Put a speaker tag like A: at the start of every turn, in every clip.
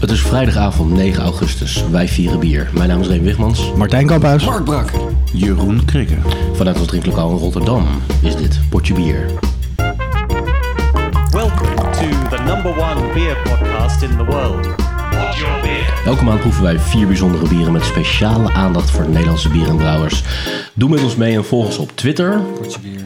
A: Het is vrijdagavond 9 augustus. Wij vieren bier. Mijn naam is Reem Wigmans.
B: Martijn Kamphuis.
C: Mark Brak.
D: Jeroen Krikke.
A: Vanuit ons drinklokaal in Rotterdam is dit Potje Bier.
E: Welcome to the number one beer podcast in the world. What's your beer?
A: Elke maand proeven wij vier bijzondere bieren met speciale aandacht voor Nederlandse bierenbrouwers. Doe met ons mee en volg ons op Twitter,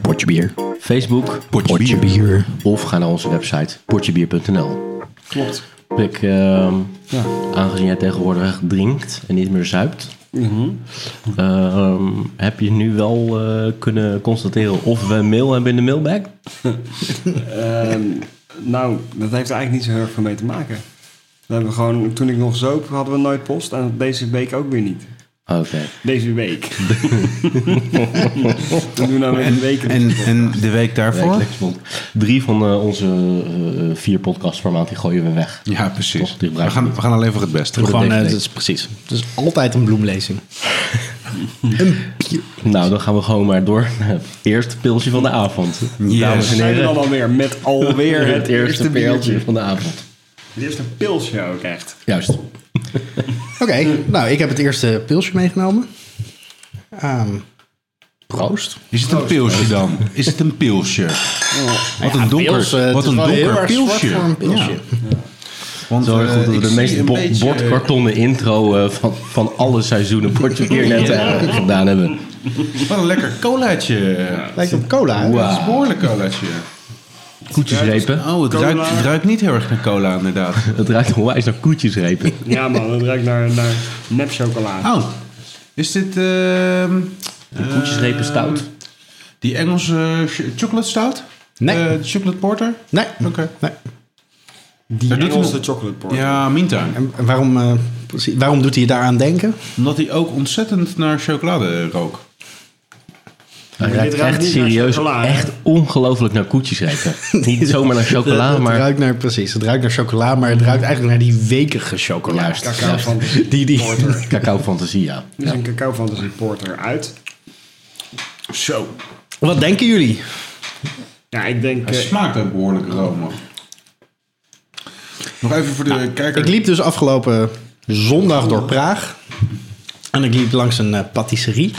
B: Potje bier.
A: Facebook
D: Potje, bier.
B: bier.
A: of ga naar onze website potjebier.nl.
C: Klopt.
A: Ik, ehm,
C: Ja.
A: aangezien jij tegenwoordig drinkt en niet meer zuipt, ehm, heb je nu wel eh, kunnen constateren of we mail hebben in de mailbag?
C: Ehm, nou, dat heeft er eigenlijk niet zo heel erg veel mee te maken. We hebben gewoon, toen ik nog zoop, hadden we nooit post. En deze week ook weer niet.
A: Oké.
C: Deze week. we doen nou weer een week.
D: En, en de week daarvoor?
A: Wekelijks, want Drie van eh, onze eh, vier podcasts per maand die gooien we weg.
D: Ja,
A: Toch,
D: precies.
A: die
D: We
A: gebruiken
D: gaan, we gaan alleen voor het beste.
B: Gewoon,
A: DVD.
B: eh, dat is precies. Het is altijd een bloemlezing.
A: Nou, dan gaan we gewoon maar door naar het eerste pilsje van de avond. Dames en
C: zijn we
A: heren,
C: dan alweer met alweer het, eerste
A: pilsje
C: biertje.
A: van de avond.
C: Het eerste pilsje ook echt.
A: Juist.
B: Oké, nou, ik heb het eerste pilsje meegenomen. Ehm, proost.
D: Is
A: Oh,
D: het een pilsje dan? Is het een pilsje? Wat een donker,
B: Pils, eh, het
D: wat
B: is
D: een
B: wel heel
D: donker
B: erg zwart
D: pilsje.
B: voor een pilsje.
D: Ja. Want,
A: Zo
D: eh,
A: goed dat we
D: ik
A: de
D: zie
A: meest
D: een
A: bo-
D: beetje-
A: bordkartonnen intro eh, van, van alle seizoenen Portje Bier net eh, gedaan hebben.
D: Wat een lekker colaatje.
B: Lijkt op cola. hè?
A: Wauw.
D: Dat is een behoorlijk colaatje.
A: Koetjesrepen.
D: Oh, het
C: Cola.
D: ruikt, het ruikt niet heel erg naar cola inderdaad.
A: Het ruikt onwijs naar koetjesrepen.
C: Ja man, dat ruikt naar, naar nepchocolade.
D: Oh, is dit ehm, eh,
A: De koetjesrepen stout.
D: die Engelse ch- chocolate stout?
B: Nee.
D: Eh, de chocolate porter?
B: Nee,
D: Oké.
B: nee.
C: Die
D: Daar doet
C: Engelse
D: hij-
C: chocolate porter.
D: Ja, Mintuin.
B: En waarom, eh, precies- waarom doet hij daaraan denken?
D: Omdat hij ook ontzettend naar chocolade rook.
A: Hij
C: dit
A: ruikt
C: ruikt
A: echt
C: niet naar
A: serieus,
C: chocola, hè?
A: echt ongelooflijk naar koetjesrepen. Niet zomaar naar chocola,
B: het,
A: maar...
B: ruikt naar, precies, het ruikt naar chocola, maar het ruikt eigenlijk naar die wekige chocola.
A: Juist,
C: Cacao
A: juist.
C: van de
B: Die, die,
C: porter.
A: Cacao fantasie, ja.
C: Dit is een cacao fantasy porter uit. Zo.
B: Wat denken jullie?
C: Ja, ik denk...
D: Hij
C: eh,
D: smaakt ook behoorlijk romig. Nog even voor de kijker.
B: Ik liep dus afgelopen zondag door Praag. En ik liep langs een eh, patisserie.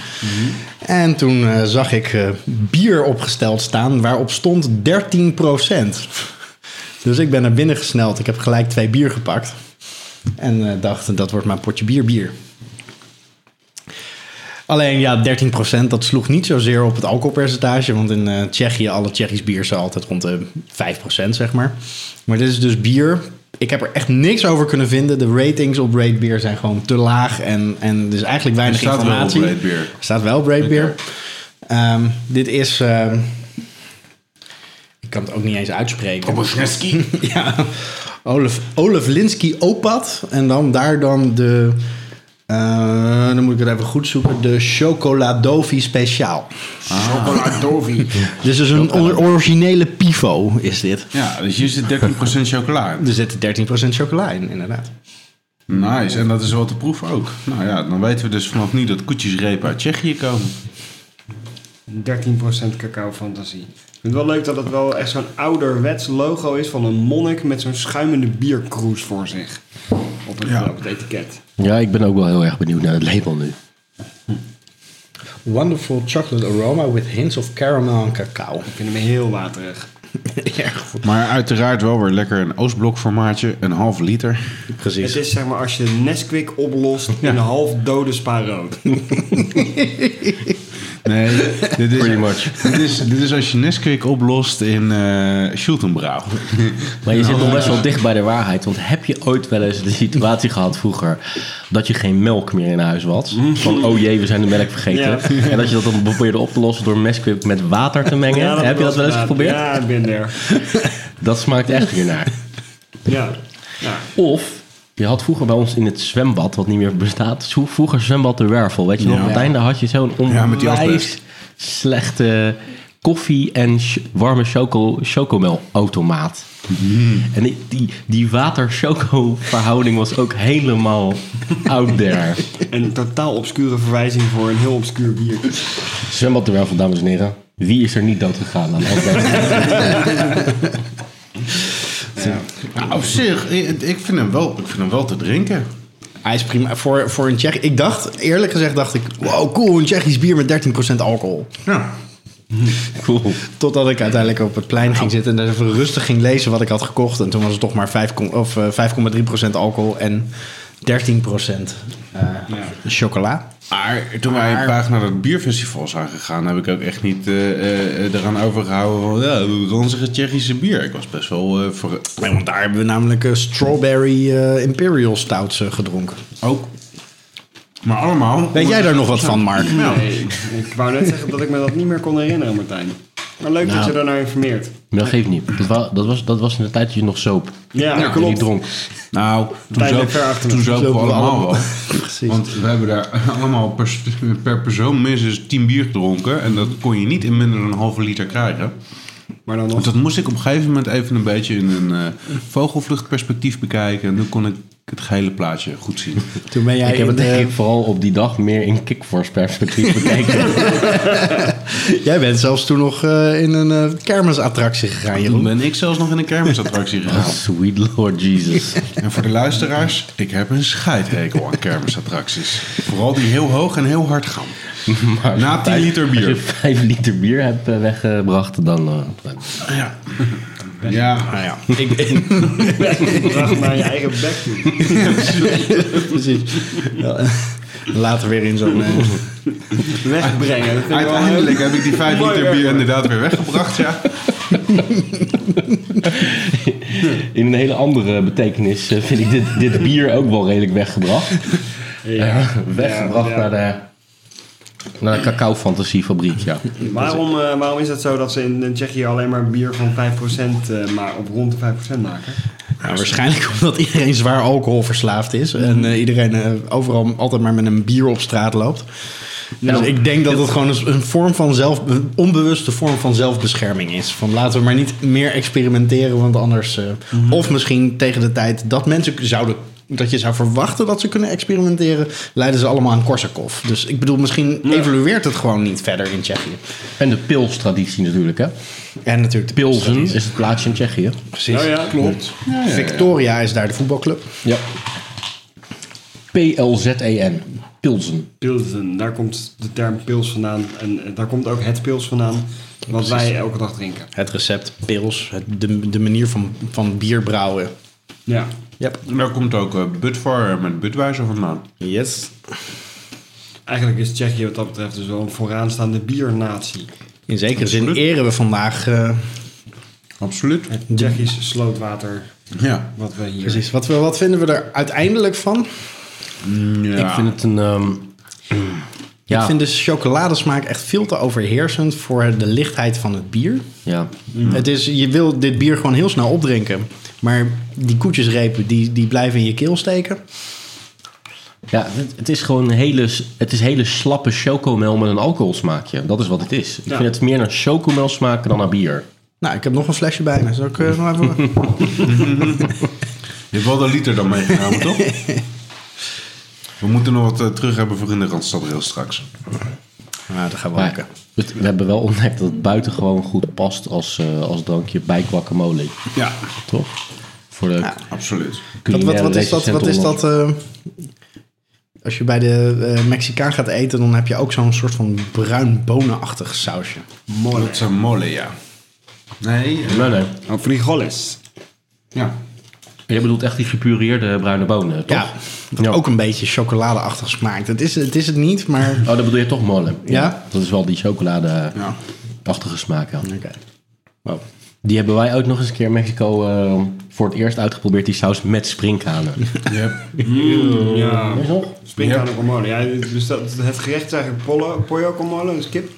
B: En toen eh, zag ik eh, bier opgesteld staan waarop stond 13 Dus ik ben naar binnen gesneld. Ik heb gelijk twee bier gepakt. En eh, dacht, dat wordt mijn potje bier bier. Alleen ja, 13 dat sloeg niet zozeer op het alcoholpercentage. Want in eh, Tsjechië, alle Tsjechisch bier zijn altijd rond de 5 zeg maar. Maar dit is dus bier. Ik heb er echt niks over kunnen vinden. De ratings op Rate Beer zijn gewoon te laag. En, en er is eigenlijk weinig
D: staat wel op
B: informatie.
D: Rate Beer.
B: Er staat wel op Rate Beer. Ehm, dit is... ehm, ik kan het ook niet eens uitspreken.
D: Koboschneski.
B: Ja, Olaf, Olaf Linsky Opat. En dan daar dan de... eh, dan moet ik het even goed zoeken. De Chocoladovi Speciaal.
C: Chocoladovi.
B: Dus is een or- originele pivo is dit.
D: Ja, dus hier zit 13% chocola. in.
B: Er zit 13% chocola in, inderdaad.
D: Nice, en dat is wel te proeven ook. Nou ja, dan weten we dus vanaf nu dat koetjesrepen uit Tsjechië komen.
C: 13% cacao fantasie. Ik vind het wel leuk dat het wel echt zo'n ouderwets logo is van een monnik met zo'n schuimende bierkroes voor zich. Op het,
D: Ja.
C: op het etiket.
A: Ja, ik ben ook wel heel erg benieuwd naar het label nu.
B: Wonderful chocolate aroma with hints of caramel en cacao.
C: Ik vind hem heel waterig.
B: Erg goed.
D: Maar uiteraard wel weer lekker een Oostblok formaatje, een half liter.
B: Precies.
C: Het is zeg maar als je Nesquik oplost in een half dode spa rood.
D: Nee, dit is,
A: Pretty much.
D: Dit is, dit is als je Nesquik oplost in eh Schultenbrouw.
A: Maar je zit nog best wel dicht bij de waarheid. Want heb je ooit wel eens de situatie gehad vroeger... dat je geen melk meer in huis had? Van, oh jee, we zijn de melk vergeten. En dat je dat dan probeerde op te lossen door Nesquik met water te mengen. heb je dat wel eens geprobeerd?
C: Ja, ik ben er.
A: Dat smaakt echt weer naar.
C: Ja. ja.
A: Of... Je had vroeger bij ons in het zwembad, wat niet meer bestaat, zo- vroeger zwembad de Wervel. Weet je nog,
D: Ja.
A: aan het einde had je zo'n
D: Ja, met die
A: onwijs
D: asbest.
A: slechte koffie- en ch- warme choco- chocomel-automaat.
D: Mm.
A: En die, die, die water-choco-verhouding was ook helemaal out there.
C: Een totaal obscure verwijzing voor een heel obscuur bier.
A: Zwembad de Wervel, dames en heren. Wie is er niet dood gegaan aan asbest?
D: Nou, op zich, ik, ik vind hem wel, ik vind hem wel te drinken.
B: Hij is prima voor, voor een Tsjech. Ik dacht, eerlijk gezegd, dacht ik, wow, cool, een Tsjechisch bier met 13% alcohol.
D: Ja.
A: Cool.
B: Totdat ik uiteindelijk op het plein
A: Nou.
B: ging zitten en daar even rustig ging lezen wat ik had gekocht. En toen was het toch maar 5, kom- of, eh, 5,3% alcohol en 13% eh chocola.
D: Maar toen wij een paar naar dat bierfestival zijn gegaan, heb ik ook echt niet eh, eh, eh, eraan overgehouden van ja, ranzige Tsjechische bier. Ik was best wel eh, ver-
B: Nee, want daar hebben we namelijk eh, strawberry eh, imperial stouts eh, gedronken.
D: ook. Maar allemaal.
B: Weet jij daar nog wat van, Mark?
D: Ja.
C: Nee, Nou, ik wou net zeggen dat ik me dat niet meer kon herinneren, Martijn. Maar leuk dat je daar nou informeert.
A: Maar dat geeft niet. Dat, wa- dat, was, dat was in de tijd dat je nog zoop.
C: Ja,
A: dat je
C: klopt.
A: niet dronk.
D: Nou, toen
C: Tijdelijk
D: zopen,
C: ver achter
D: toen
C: me.
D: zopen we
B: Zopen we
D: allemaal wel.
B: Precies.
D: Want we hebben daar allemaal per, st- per persoon minstens 10 bier gedronken. En dat kon je niet in minder dan een halve liter krijgen.
C: Maar dan nog.
D: Want dat moest ik op een gegeven moment even een beetje in een eh, vogelvluchtperspectief bekijken. En toen kon ik het gehele plaatje goed zien.
B: Toen ben jij
A: ik heb het
B: in,
A: denk
B: eh,
A: ik vooral op die dag meer in kickforce perspectief bekeken.
B: Jij bent zelfs toen nog eh, in een eh, kermisattractie gegaan,
D: Toen
B: Jeroen.
D: ben ik zelfs nog in een kermisattractie gegaan.
A: Sweet Lord Jesus.
D: En voor de luisteraars, ik heb een scheidhekel aan kermisattracties. Vooral die heel hoog en heel hard gaan.
A: Maar
D: Na 10 liter
A: Als je
D: bier.
A: 5 liter bier hebt eh, weggebracht, dan... eh,
D: Ah, Ja. Ah, Ja,
B: Nou ja,
C: Vraag naar je eigen bek toe.
B: precies. Ja, Later weer in zo'n... eh,
C: Wegbrengen. Dat vind ik wel
D: uiteindelijk
C: heel-
D: heb ik die 5
C: Mooi
D: liter
C: werk,
D: bier
C: hoor.
D: inderdaad weer weggebracht. Ja.
A: In een hele andere betekenis eh, vind ik dit, dit bier ook wel redelijk weggebracht.
C: Ja.
A: weggebracht
C: Ja,
A: naar
C: ja.
A: de... Naar de cacao-fantasiefabriek, ja.
C: Waarom, eh, waarom is het zo dat ze in in Tsjechië alleen maar bier van 5% eh, maar op rond de 5% maken?
B: Nou, waarschijnlijk omdat iedereen zwaar alcoholverslaafd is. En eh, iedereen eh, overal altijd maar met een bier op straat loopt. dus ik denk dat het gewoon een, een vorm van zelf, een onbewuste vorm van zelfbescherming is. Van laten we maar niet meer experimenteren, want anders. eh, Of misschien tegen de tijd dat mensen zouden. Dat je zou verwachten dat ze kunnen experimenteren, leiden ze allemaal aan Korsakoff. Dus ik bedoel, misschien evolueert het gewoon niet verder in Tsjechië.
A: En de pilstraditie natuurlijk, hè.
B: En natuurlijk de
A: Pilsen
B: Precies.
A: is het plaatsje in Tsjechië.
C: Nou ja, klopt.
B: Victoria is daar de voetbalclub.
A: Ja. P-L-Z-E-N. E Pilsen.
C: Pilsen, daar komt de term pils vandaan. En eh, daar komt ook het pils vandaan, wat wij elke dag drinken.
B: Het recept, pils, het- de, de manier van, van bier brouwen.
C: Ja.
B: Yep.
D: En daar komt ook eh, Budvar met Budweiser vandaan.
B: Yes.
C: Eigenlijk is Tsjechië wat dat betreft dus wel een vooraanstaande biernatie.
B: In zekere zin eren we vandaag eh,
D: Absoluut.
C: Het Tsjechisch slootwater,
D: Ja.
C: wat we hier...
B: precies. Wat, we, wat vinden we er uiteindelijk van?
D: ja.
A: Ik vind het een... ehm, ja,
B: Ik vind de chocoladesmaak echt veel te overheersend voor de lichtheid van het bier.
A: ja.
B: Het is, je wil dit bier gewoon heel snel opdrinken. Maar die koetjesrepen die, die blijven in je keel steken.
A: Ja, het, het is gewoon een hele, s- het is hele slappe chocomel met een alcoholsmaakje. Dat is wat het is. Ik
C: Ja.
A: vind het meer naar chocomel smaken dan naar bier.
B: Nou, ik heb nog een flesje bij me. Zal ik eh, nog even...
D: Je hebt wel de liter dan meegenomen, toch? We moeten nog wat eh, terug hebben voor in de Randstad heel straks.
B: nou, dat gaan we
A: Maar
B: maken.
A: het- we hebben wel ontdekt dat het buitengewoon goed past als, eh, als drankje bij guacamole.
D: Ja,
A: Toch? Voor de
D: absoluut.
B: Wat, wat,
A: culinaire
B: wat is dat? Wat is
A: recensenten
B: dat eh, als je bij de eh, Mexicaan gaat eten, dan heb je ook zo'n soort van bruin bonenachtig sausje.
D: Mole. Dat zijn molle, ja. Nee. eh,
A: onder- Nee, nee.
C: Oh, frijoles.
D: Ja.
A: Jij bedoelt echt die gepureerde bruine bonen, toch?
B: Ja, dat ook een beetje chocoladeachtig smaakt. Het is het, is het niet, maar...
A: Oh, dat bedoel je toch molle?
B: Ja.
A: Dat is wel die
D: Ja.
A: chocolade-achtige smaak, ja.
B: Oké.
A: Die hebben wij ook nog eens een keer in Mexico eh, voor het eerst uitgeprobeerd, die saus met springkanen.
D: Yep.
C: Ja.
A: Toch?
C: Springkaan
D: Ja.
C: en komole. Ja, dus dat, het gerecht is eigenlijk pollo, pollo komole, dus kip.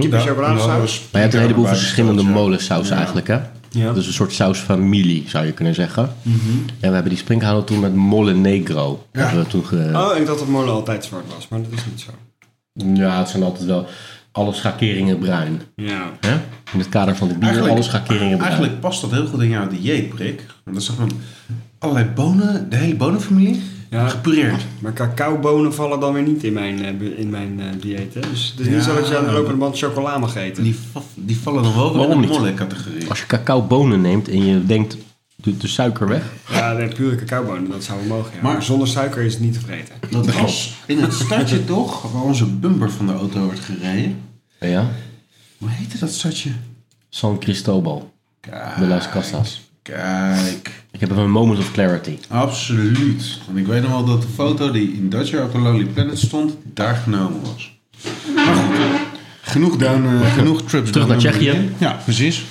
C: Kip en chocoladesaus.
A: Maar je hebt een heleboel verschillende
D: molen.
A: molensaus eigenlijk, hè?
C: Ja.
A: Dus een soort sausfamilie, zou je kunnen zeggen. En we hebben die sprinkhanen toen met mole negro.
D: Ja.
A: Hebben we toen ge-
C: Oh, ik dacht dat mole altijd zwart was, maar dat is niet zo.
A: ja, het zijn altijd wel alle schakeringen bruin.
C: Ja.
A: Hè? In het kader van de bier, alle schakeringen bruin.
D: Eigenlijk past dat heel goed in jouw dieetprik. Want dat is gewoon allerlei bonen, de hele bonenfamilie,
C: Ja.
D: gepureerd.
C: Maar cacaobonen vallen dan weer niet in mijn, eh, be- in mijn eh, dieet, hè? Dus het is
D: Ja.
C: niet zo dat je aan de lopende band chocola mag eten.
D: Die, va- die vallen nog wel weer
A: Waarom
D: in de
A: niet?
D: molle-categorie.
A: Als je cacaobonen neemt en je denkt, de, de suiker weg.
C: Ja, nee, pure cacaobonen, dat zou we mogen. Ja.
D: Maar-
C: Maar zonder suiker is het niet te vreten.
D: Dat was in het stadje toch, waar onze bumper van de auto wordt gereden.
A: Ja.
D: Hoe heette dat stadje?
A: San Cristobal.
D: Kijk,
A: De Las Casas.
D: Kijk,
A: Ik heb even een moment of clarity.
D: absoluut. Want ik weet nog wel dat de foto die in Dutch Year of the Lonely Planet stond, daar genomen was. Maar goed, eh, genoeg, down, eh, genoeg trips.
A: Terug
D: down
A: naar
D: memory
A: Tsjechië.
D: lane. Ja, precies.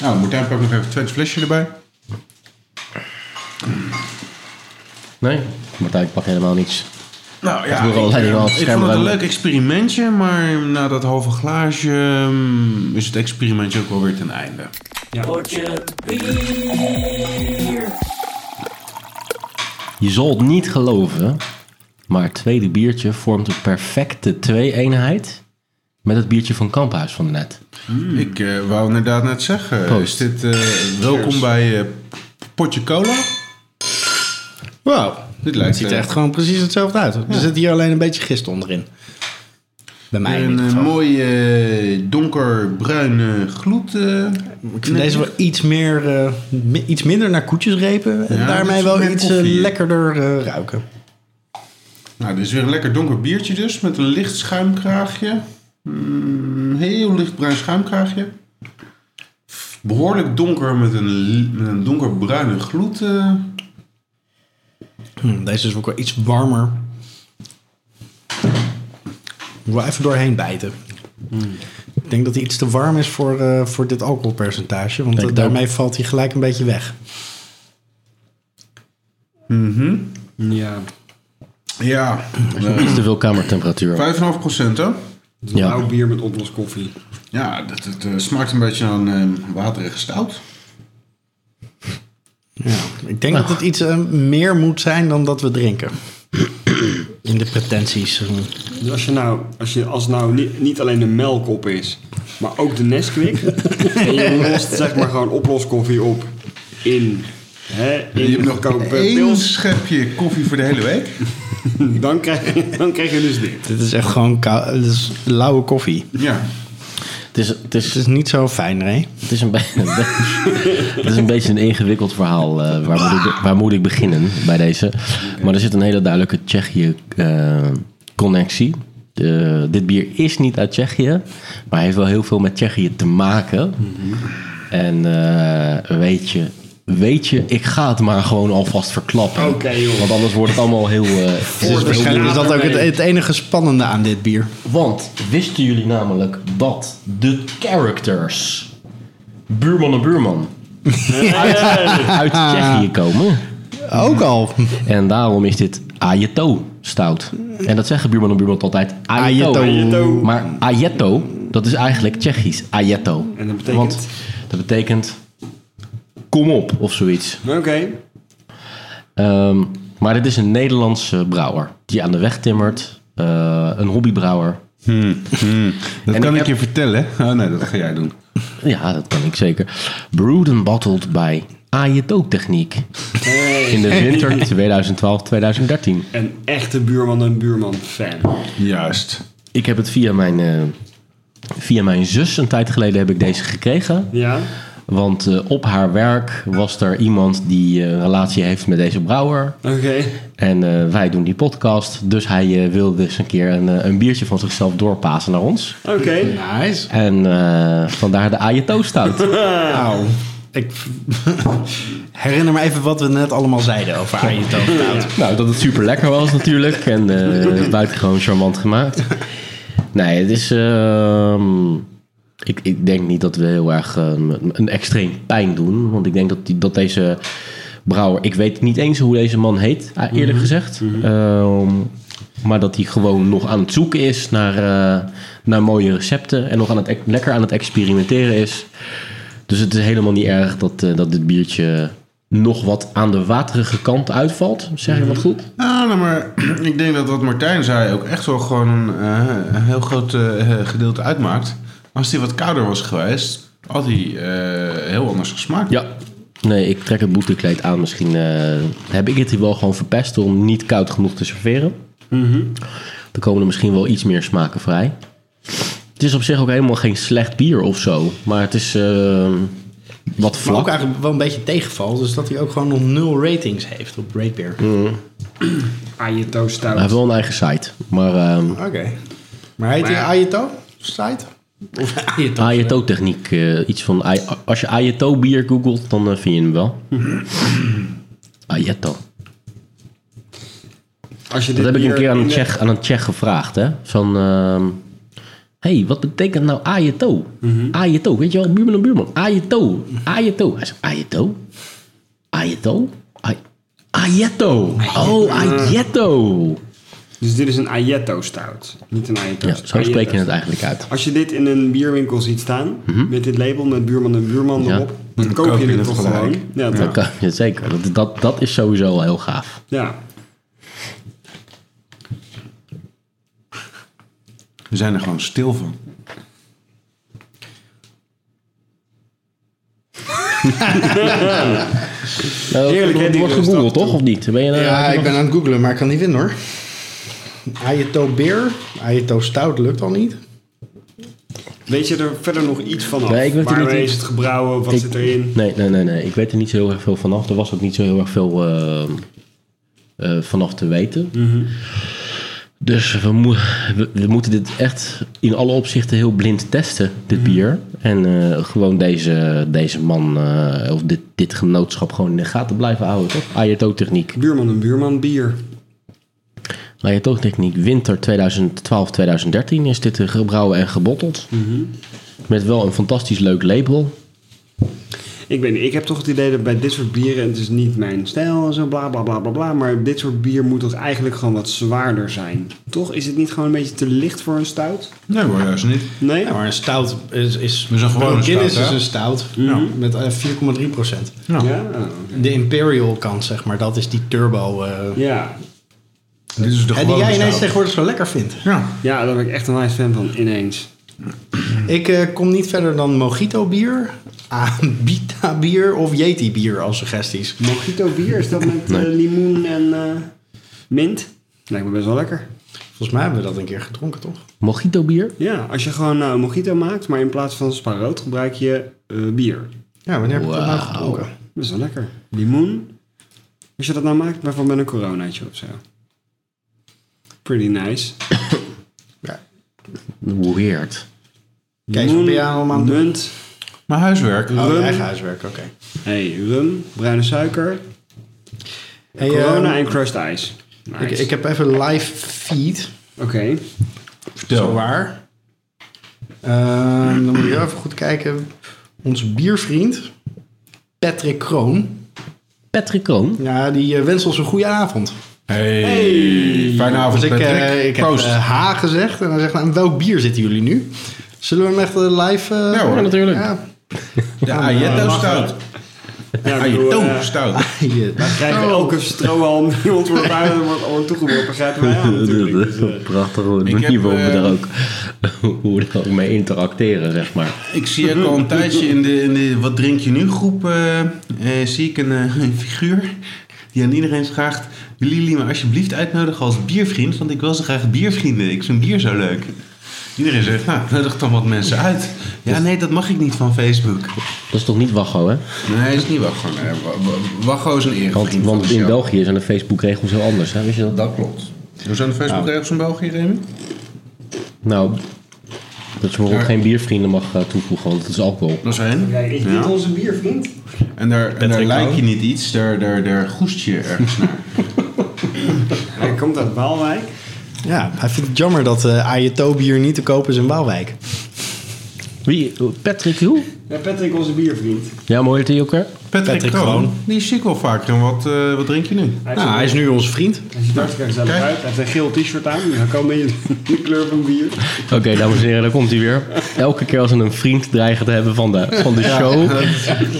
D: Nou, Martijn pakt nog even het tweede flesje erbij.
A: Nee, Martijn, ik pak helemaal niets.
D: Nou ja,
A: wil
D: ik,
A: wel leiding wel
D: eh,
A: het
D: ik
A: scherm
D: vond het een
A: ruimen.
D: leuk experimentje, maar na dat halve glaasje ehm, is het experimentje ook wel weer ten einde.
A: Je zal het niet geloven, maar het tweede biertje vormt een perfecte twee-eenheid met het biertje van Kamphuis van net.
D: Ik eh, wou inderdaad net zeggen,
A: Proost.
D: is dit eh, welkom bij eh, Potje Cola?
B: Wow,
D: Dit lijkt
B: het ziet er
D: eh,
B: echt gewoon precies hetzelfde uit. Er zit hier alleen een beetje gist onderin. Bij mij in
D: een
B: ieder
D: eh,
B: geval.
D: mooie eh, donkerbruine gloed. eh,
B: Ik vind deze wel iets, meer, eh, mi- iets minder naar koetjesrepen. En
D: Ja, dit
B: daarmee
D: is
B: wel
D: meer
B: iets eh,
D: koffie.
B: lekkerder eh, ruiken.
D: Nou, dit is weer een lekker donker biertje dus, met een licht schuimkraagje. Mm, heel lichtbruin schuimkraagje. Behoorlijk donker met een, li- met een donkerbruine gloed. eh.
B: Hm, deze is ook wel iets warmer. Ik wil even doorheen bijten.
A: Hmm.
B: Ik denk dat hij iets te warm is voor, eh, voor dit alcoholpercentage. Want
A: Denk
B: eh,
A: het
B: daarmee valt hij gelijk een beetje weg.
C: Ja.
D: Ja,
A: Iets te veel kamertemperatuur.
D: 5,5 procent hè?
C: Dus een
A: Ja.
C: blauw bier met oploskoffie.
D: Ja, dat, dat, eh, smaakt een beetje aan eh waterige stout.
B: Ik
A: Nou.
B: denk dat het iets eh, meer moet zijn dan dat we drinken. In de pretenties.
A: Hm.
C: Dus als je nou, als je als nou niet, niet alleen de melk op is, maar ook de Nesquik. en je lost zeg maar gewoon oploskoffie op in, hè, in
D: Je hebt nog
C: goedkope
D: één
C: pils.
D: schepje koffie voor de hele week.
C: Dan krijg, je, dan krijg je dus dit.
B: Dit is echt gewoon kou- dit is lauwe koffie.
D: Ja,
A: Het is, het
B: Het
A: is,
B: is niet zo fijn, hè?
A: het is, een, be- het is een beetje een ingewikkeld verhaal. eh, waar, moet ik, waar moet ik beginnen bij deze? Maar er zit een hele duidelijke Tsjechië-connectie. dit bier is niet uit Tsjechië, maar heeft wel heel veel met Tsjechië te maken. En eh, weet je, weet je, ik ga het maar gewoon alvast verklappen.
C: Oké, joh.
A: Want anders wordt het allemaal heel. eh,
B: Dus
C: Voor de
B: waarschijnlijk is dat ook het,
C: schaamte.
B: het enige spannende aan dit bier.
A: Want wisten jullie namelijk dat de characters buurman en buurman uit, uit Tsjechië komen?
B: Ook al.
A: En daarom is dit Ajeto stout. En dat zeggen buurman en buurman altijd
B: Ajeto.
A: Ajeto.
C: Ajeto.
A: Maar Ajeto, dat is eigenlijk Tsjechisch. Ajeto.
C: En dat betekent?
A: Want dat betekent kom op of zoiets.
C: Oké.
A: Ehm, maar dit is een Nederlandse brouwer die aan de weg timmert. Eh, een hobbybrouwer.
D: dat
A: En
D: kan
A: ik
D: ik,
A: heb-
D: je vertellen. Oh nee, dat ga jij doen.
A: Ja, dat kan ik zeker. Brewed and bottled bij Ajeto Techniek. In de winter 2012-2013.
C: Een echte buurman en buurman fan.
D: Juist.
A: Ik heb het via mijn, eh, via mijn zus een tijd geleden heb ik deze gekregen.
C: Ja?
A: Want eh, op haar werk was er iemand die eh, een relatie heeft met deze brouwer.
C: Oké.
A: En eh, wij doen die podcast. Dus hij eh, wilde eens een keer een, eh, een biertje van zichzelf doorpassen naar ons.
C: Oké.
B: Nice.
A: En eh, vandaar de Ajeto stout.
B: Nou, ik herinner me even wat we net allemaal zeiden over Ajeto.
A: Nou, dat het super lekker was natuurlijk. En eh buitengewoon charmant gemaakt. Nee, het is. ehm, ik, ik denk niet dat we heel erg ehm, een extreem pijn doen. Want ik denk dat, die, dat deze brouwer. Ik weet niet eens hoe deze man heet, eh, eerlijk gezegd. Ehm, maar dat hij gewoon nog aan het zoeken is naar, eh, naar mooie recepten. En nog aan het, ex- lekker aan het experimenteren is. Dus het is helemaal niet erg dat, eh, dat dit biertje nog wat aan de waterige kant uitvalt. Zeg je wat goed?
D: Ah, nou, maar ik denk dat wat Martijn zei ook echt wel gewoon een, eh, een heel groot eh, gedeelte uitmaakt. Als die wat kouder was geweest, had hij eh, heel anders gesmaakt.
A: Ja. Nee, ik trek het boetekleed aan. Misschien eh, heb ik het hier wel gewoon verpest door hem niet koud genoeg te serveren.
B: Mhm.
A: Dan komen er misschien wel iets meer smaken vrij. Het is op zich ook helemaal geen slecht bier of zo. Maar het is... eh, Wat
B: Maar ook
A: vlak.
B: eigenlijk wel een beetje tegenvalt. Dus dat hij ook gewoon nog nul ratings heeft op Ratebeer.
D: Mm.
C: Ayato
A: Hij heeft
C: stout.
A: wel een eigen site. Maar ehm
B: Oké. Maar heet hij
C: Maar-
B: Ayato? Site? Of Ayato?
A: AJTO-techniek. eh, iets van, ai- als je AJTO-bier googelt, dan eh, vind je hem wel.
B: Mhm.
A: AJTO.
C: Als je
A: Dat
C: dit
A: heb ik een
C: bier
A: keer aan
C: in
A: een
C: eh, de-
A: Tsjech, aan een Tsjech gevraagd, hè. Van, ehm, hey, wat betekent nou AJTO?
C: Mhm.
A: AJTO, weet je wel, buurman en buurman. AJTO, AJTO. Hij zei, AJTO? AJTO? Aj- AJTO. Oh, AJTO.
C: Dus dit is een Ayato stout. Niet een Ayato
A: Ja,
C: stout.
A: zo
C: Ayato
A: spreek je het
C: stout.
A: eigenlijk uit.
C: Als je dit in een bierwinkel ziet staan, met dit label, met buurman en buurman
A: Mhm. Ja.
C: erop, dan koop je dit toch
D: gelijk.
C: gewoon. Ja,
A: Dat
C: toch?
A: kan, ja, zeker. Dat, dat, dat is sowieso al heel gaaf.
C: ja.
D: We zijn er gewoon stil van.
A: Nou,
C: Heerlijk, hè,
A: het
C: die
A: wordt
C: rust
A: gegoogeld,
C: af en
A: toch? Of niet? Ben je, eh,
B: Ja,
A: heb je
B: ik
A: nog-
B: ben aan het googlen, maar ik kan niet vinden hoor. Ayato beer, Ayato stout lukt al niet.
C: Weet je er verder nog iets van af?
A: Nee, ik weet er
C: Waarmee
A: niet
C: is
A: iets.
C: het gebrouwen? Wat
A: Ik-
C: zit erin?
A: Nee, nee, nee, nee. Ik weet er niet zo heel erg veel vanaf. Er was ook niet zo heel erg veel eh, eh, vanaf te weten. Dus we, mo- we, we moeten dit echt in alle opzichten heel blind testen, dit bier. En eh, gewoon deze, deze man, eh, of dit, dit genootschap, gewoon in de gaten blijven houden, toch? Ayato-techniek.
C: Buurman en buurman bier.
A: Ayato-techniek, winter 2012-2013 is dit eh, gebrouwen en gebotteld. Met wel een fantastisch leuk label.
C: Ik weet niet, ik heb toch het idee dat bij dit soort bieren, en het is niet mijn stijl en zo bla bla bla bla bla, maar dit soort bier moet toch eigenlijk gewoon wat zwaarder zijn. Toch? Is het niet gewoon een beetje te licht voor een stout?
D: Nee hoor, juist niet.
C: Nee?
B: Ja, maar een stout is... is
D: Dus een gewone
B: Guinness
D: stout,
B: is
D: hè?
B: een stout met eh, 4,3 procent.
D: Nou,
C: Ja.
B: De Imperial kant, zeg maar, dat is die turbo. eh,
C: ja.
D: dit is de
B: hè,
D: gewone
B: die jij ineens
D: stout.
B: tegenwoordig zo lekker vindt.
D: Ja,
C: Ja, daar ben ik echt een wijs fan van, ineens.
B: Ik eh, kom niet verder dan Mojito bier, Abita bier of Yeti bier als suggesties.
C: Mojito bier, is dat met eh, limoen en eh, mint? Lijkt me best wel lekker.
B: Volgens mij hebben we dat een keer gedronken, toch?
A: Mojito bier.
C: Ja, als je gewoon nou een mojito maakt, maar in plaats van spaarrood gebruik je eh, bier.
B: Ja, wanneer heb ik dat nou
A: Wauw.
B: gedronken?
C: Dat is wel lekker. Limoen. Als je dat nou maakt, bijvoorbeeld met een coronaatje of zo. Pretty nice.
B: Ja.
A: Weird.
B: Kees, wat ben jij allemaal aan het doen?
C: munt.
D: maar huiswerk.
B: Oh, je
C: Rum.
B: eigen huiswerk, oké.
C: Hey, rum, bruine suiker,
B: Hey,
C: corona
B: eh,
C: en crushed ice. Nice.
B: ik, ik heb even live feed,
C: Oké.
D: Vertel.
B: zowaar. Ehm, dan moet je even goed kijken. Onze biervriend, Patrick Kroon,
A: Patrick Kroon.
B: ja, die eh, wenst ons een goede avond.
D: Hey. Fijne avond,
B: Dus ik,
D: Patrick.
B: eh, ik heb
D: Proost.
B: eh, H gezegd en hij zegt, nou, aan welk bier zitten jullie nu? Zullen we hem echt eh, live... eh,
D: Ja hoor.
A: Ja, natuurlijk.
B: Ja,
D: de Ajetto stout.
C: Ja, ik bedoel,
D: Ajetto
C: eh,
D: stout.
B: je-
C: Wij krijgen
B: Oh.
C: elke strohalm die ons wordt buiten wordt wordt toegeworpen. Begrijpen wij aan natuurlijk. Dus, eh,
A: Prachtig hoe
D: Ik
A: manier
D: heb,
A: waarop we
D: eh,
A: daar ook, hoe we daar ook mee interacteren, zeg maar.
D: Ik zie ook al een tijdje in de, in de Wat drink je nu groep. eh, eh, zie ik een, eh, een figuur die aan iedereen vraagt. Willen jullie me alsjeblieft uitnodigen als biervriend? Want ik wil zo graag biervrienden. Ik vind bier zo leuk. Iedereen zegt, nou, nodig dan wat mensen uit. Ja, nee, dat mag ik niet van Facebook.
A: Dat is toch niet Wacho, hè?
D: Nee, is niet Wacho. Nee, Wa- Wa- Wacho is een
A: Want,
D: erevriend.
A: want
D: van de
A: in
D: show.
A: België zijn de Facebook-regels heel anders, hè? Wist je dat?
D: Dat klopt. Hoe zijn de Facebook-regels in België, Remy?
A: Nou, dat je bijvoorbeeld
D: Ja.
A: geen biervrienden mag eh, toevoegen, want dat is alcohol.
D: Dat is één.
C: Kijk, is dit
D: Ja.
C: onze biervriend?
D: En daar, en daar lijk je niet iets, daar, daar, daar goest je ergens naar.
C: Hij komt uit Waalwijk.
B: ja, hij vindt het jammer dat eh Ayato bier niet te koop is in Waalwijk.
A: Wie? Patrick hoe?
C: Ja, Patrick, onze biervriend.
A: Ja, mooi heet hij ook weer?
D: Patrick,
B: Patrick
D: Kroon,
B: Kroon.
D: die zie ik wel vaker. En wat, eh, wat drink je nu?
C: Hij
B: Nou, hij is nu onze vriend.
C: Hij ziet er hartstikke gezellig
D: Kijk.
C: uit. Hij heeft een geel t-shirt aan. Hij kan mee in de kleur van bier.
A: Oké, dames en heren, daar komt hij weer. Elke keer als we een vriend dreigen te hebben van de, van de show,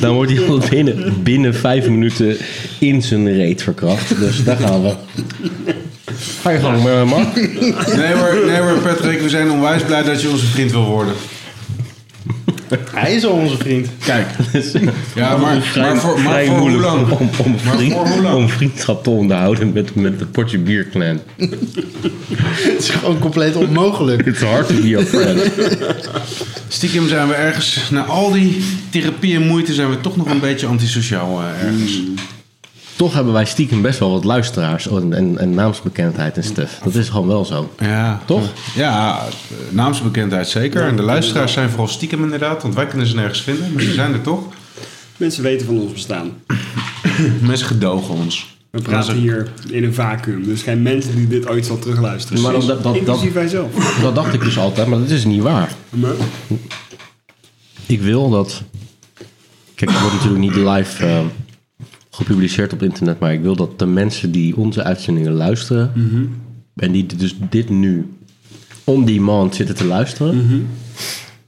A: dan wordt hij al binnen, binnen vijf minuten in zijn reet verkracht. Dus daar gaan we. Ga je gang, eh, Mark.
D: Nee hoor, nee hoor, Patrick, we zijn onwijs blij dat je onze vriend wil worden.
B: Hij is al onze vriend.
F: Kijk,
A: Dus,
F: ja, maar, maar voor, maar
A: vrij
F: voor hoe
A: moeilijk
F: lang?
A: Om, om,
F: Maar
A: vriend-
F: voor hoe lang?
A: om vriendschap te onderhouden met, met de potje bierclan.
B: Het is gewoon compleet onmogelijk.
A: It's hard to be a friend.
D: Stiekem zijn we ergens, na al die therapie en moeite, zijn we toch nog een beetje antisociaal eh, ergens.
B: Mm.
A: Toch hebben wij stiekem best wel wat luisteraars en, en, en naamsbekendheid en stuff. Dat is gewoon wel zo.
D: Ja.
A: Toch?
D: Ja, eh, naamsbekendheid zeker. En de luisteraars zijn vooral stiekem inderdaad, want wij kunnen ze nergens vinden. Maar ze zijn er toch.
C: Mensen weten van ons bestaan.
D: Mensen gedogen ons.
C: We praten hier in een vacuüm. Dus geen mensen die dit ooit zal terugluisteren.
A: Maar dan dat- dat-
C: Inclusief wij zelf.
A: Dat dacht ik dus altijd, maar dat is niet waar.
C: Maar-
A: Ik wil dat. Kijk, het wordt natuurlijk niet live eh, gepubliceerd op internet, maar ik wil dat de mensen die onze uitzendingen luisteren
D: Mhm.
A: en die dus dit nu on demand zitten te luisteren,
D: Mhm.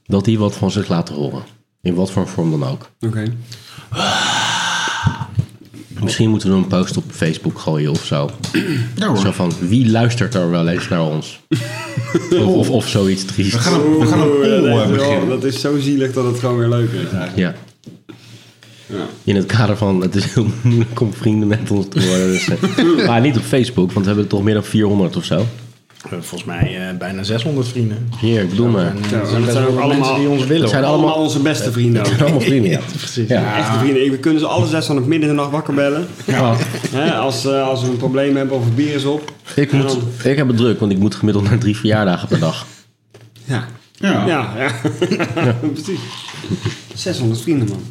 A: dat die wat van zich laten horen. In wat voor vorm dan ook.
C: Oké.
A: Misschien moeten we een post op Facebook gooien of zo.
D: Ja
A: Zo
D: hoor.
A: van wie luistert er wel eens naar ons? of, of, of zoiets triest.
D: We gaan een, we gaan een
C: Oeh,
D: poll
C: dat
D: eh,
C: is wel-
D: beginnen.
C: Dat is zo zielig dat het gewoon weer leuk is eigenlijk.
A: Ja. In het kader van het is heel moeilijk om vrienden met ons te worden. Dus, eh, maar niet op Facebook, want we hebben er toch meer dan 400 of zo.
B: We hebben volgens mij eh, bijna 600 vrienden.
A: Hier, ik bedoel maar.
B: En, eh,
C: Ja,
B: er
C: maar dat
B: best
C: zijn
B: wel
C: ook
B: wat
C: allemaal-
B: mensen die ons
A: dat
B: willen.
A: zijn
B: hoor.
A: allemaal-
C: Allemaal onze beste vrienden ook.
A: Allemaal vrienden, ja.
B: Precies.
A: Ja.
C: Echte vrienden. Ik- We kunnen ze alle zes van het midden in de nacht wakker bellen.
A: Ah,
C: Hè, als, eh, als we een probleem hebben of het bier is op.
A: ik, moet, ik heb het druk, want ik moet gemiddeld naar drie verjaardagen per dag.
C: Ja.
F: Ja.
C: Ja, ja. precies. 600 vrienden, man.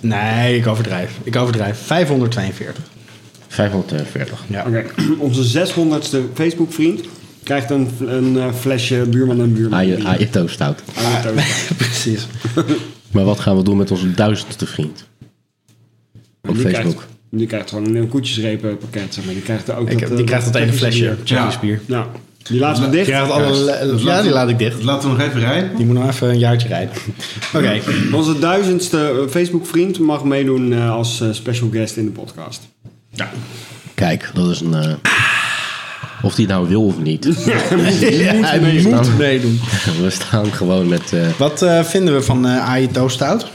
B: Nee, ik overdrijf. Ik overdrijf. 542.
A: 540.
B: Ja.
C: Oké, onze 600ste Facebook-vriend krijgt een, een eh, flesje buurman en buurman. bier.
A: Aan je toast houdt.
C: Aan je toast.
B: Precies.
A: Maar wat gaan we doen met onze duizendste vriend? Op
C: Die krijgt-
A: Facebook.
C: Die krijgt gewoon een koetjesrepen pakket, zeg maar. Die krijgt er ook eh,
B: Ik heb, die krijgt dat ene flesje. Chinese bier.
C: Ja, die laten we dicht.
B: Die krijgt alle,
D: Dus
B: ja,
D: laten
B: die
D: we-
B: laat ik dicht.
D: Laten we nog even rijden.
B: Die moet nog even een jaartje rijden. Oké.
C: Onze duizendste eh, Facebook-vriend mag meedoen eh, als eh, special guest in de podcast.
A: Kijk, dat is een... eh, of die nou wil of niet.
B: Hij moet meedoen.
A: We staan gewoon met... eh,
B: Wat eh, vinden we van eh AI Toastout?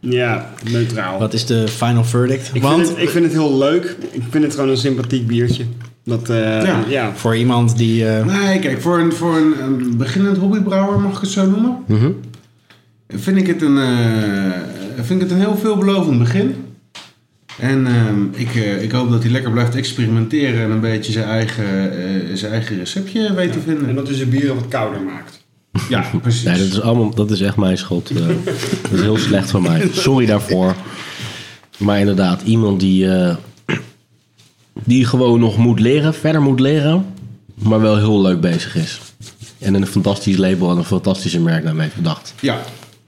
C: Ja, neutraal.
B: Wat is de final verdict?
C: Ik,
B: Want
C: vind het, ik vind het heel leuk. Ik vind het gewoon een sympathiek biertje. Dat, eh, ja.
B: voor iemand die... eh,
D: Nee, kijk, voor een, voor een, een beginnend hobbybrouwer, mag ik het zo noemen, vind, ik het een, eh, vind ik het een heel veelbelovend begin. En ehm, ik, eh, ik hoop dat hij lekker blijft experimenteren en een beetje zijn eigen, eh, zijn eigen receptje weet te
C: En
D: vinden.
C: dat dus de bieren wat kouder maakt.
D: Ja, precies.
A: Nee, dat is, allemaal, dat is echt mijn schuld. eh. dat is heel slecht van mij. Sorry daarvoor. Maar inderdaad, iemand die, eh, die gewoon nog moet leren, verder moet leren, maar wel heel leuk bezig is. En een fantastisch label en een fantastische merk daarmee heeft bedacht.
D: Ja,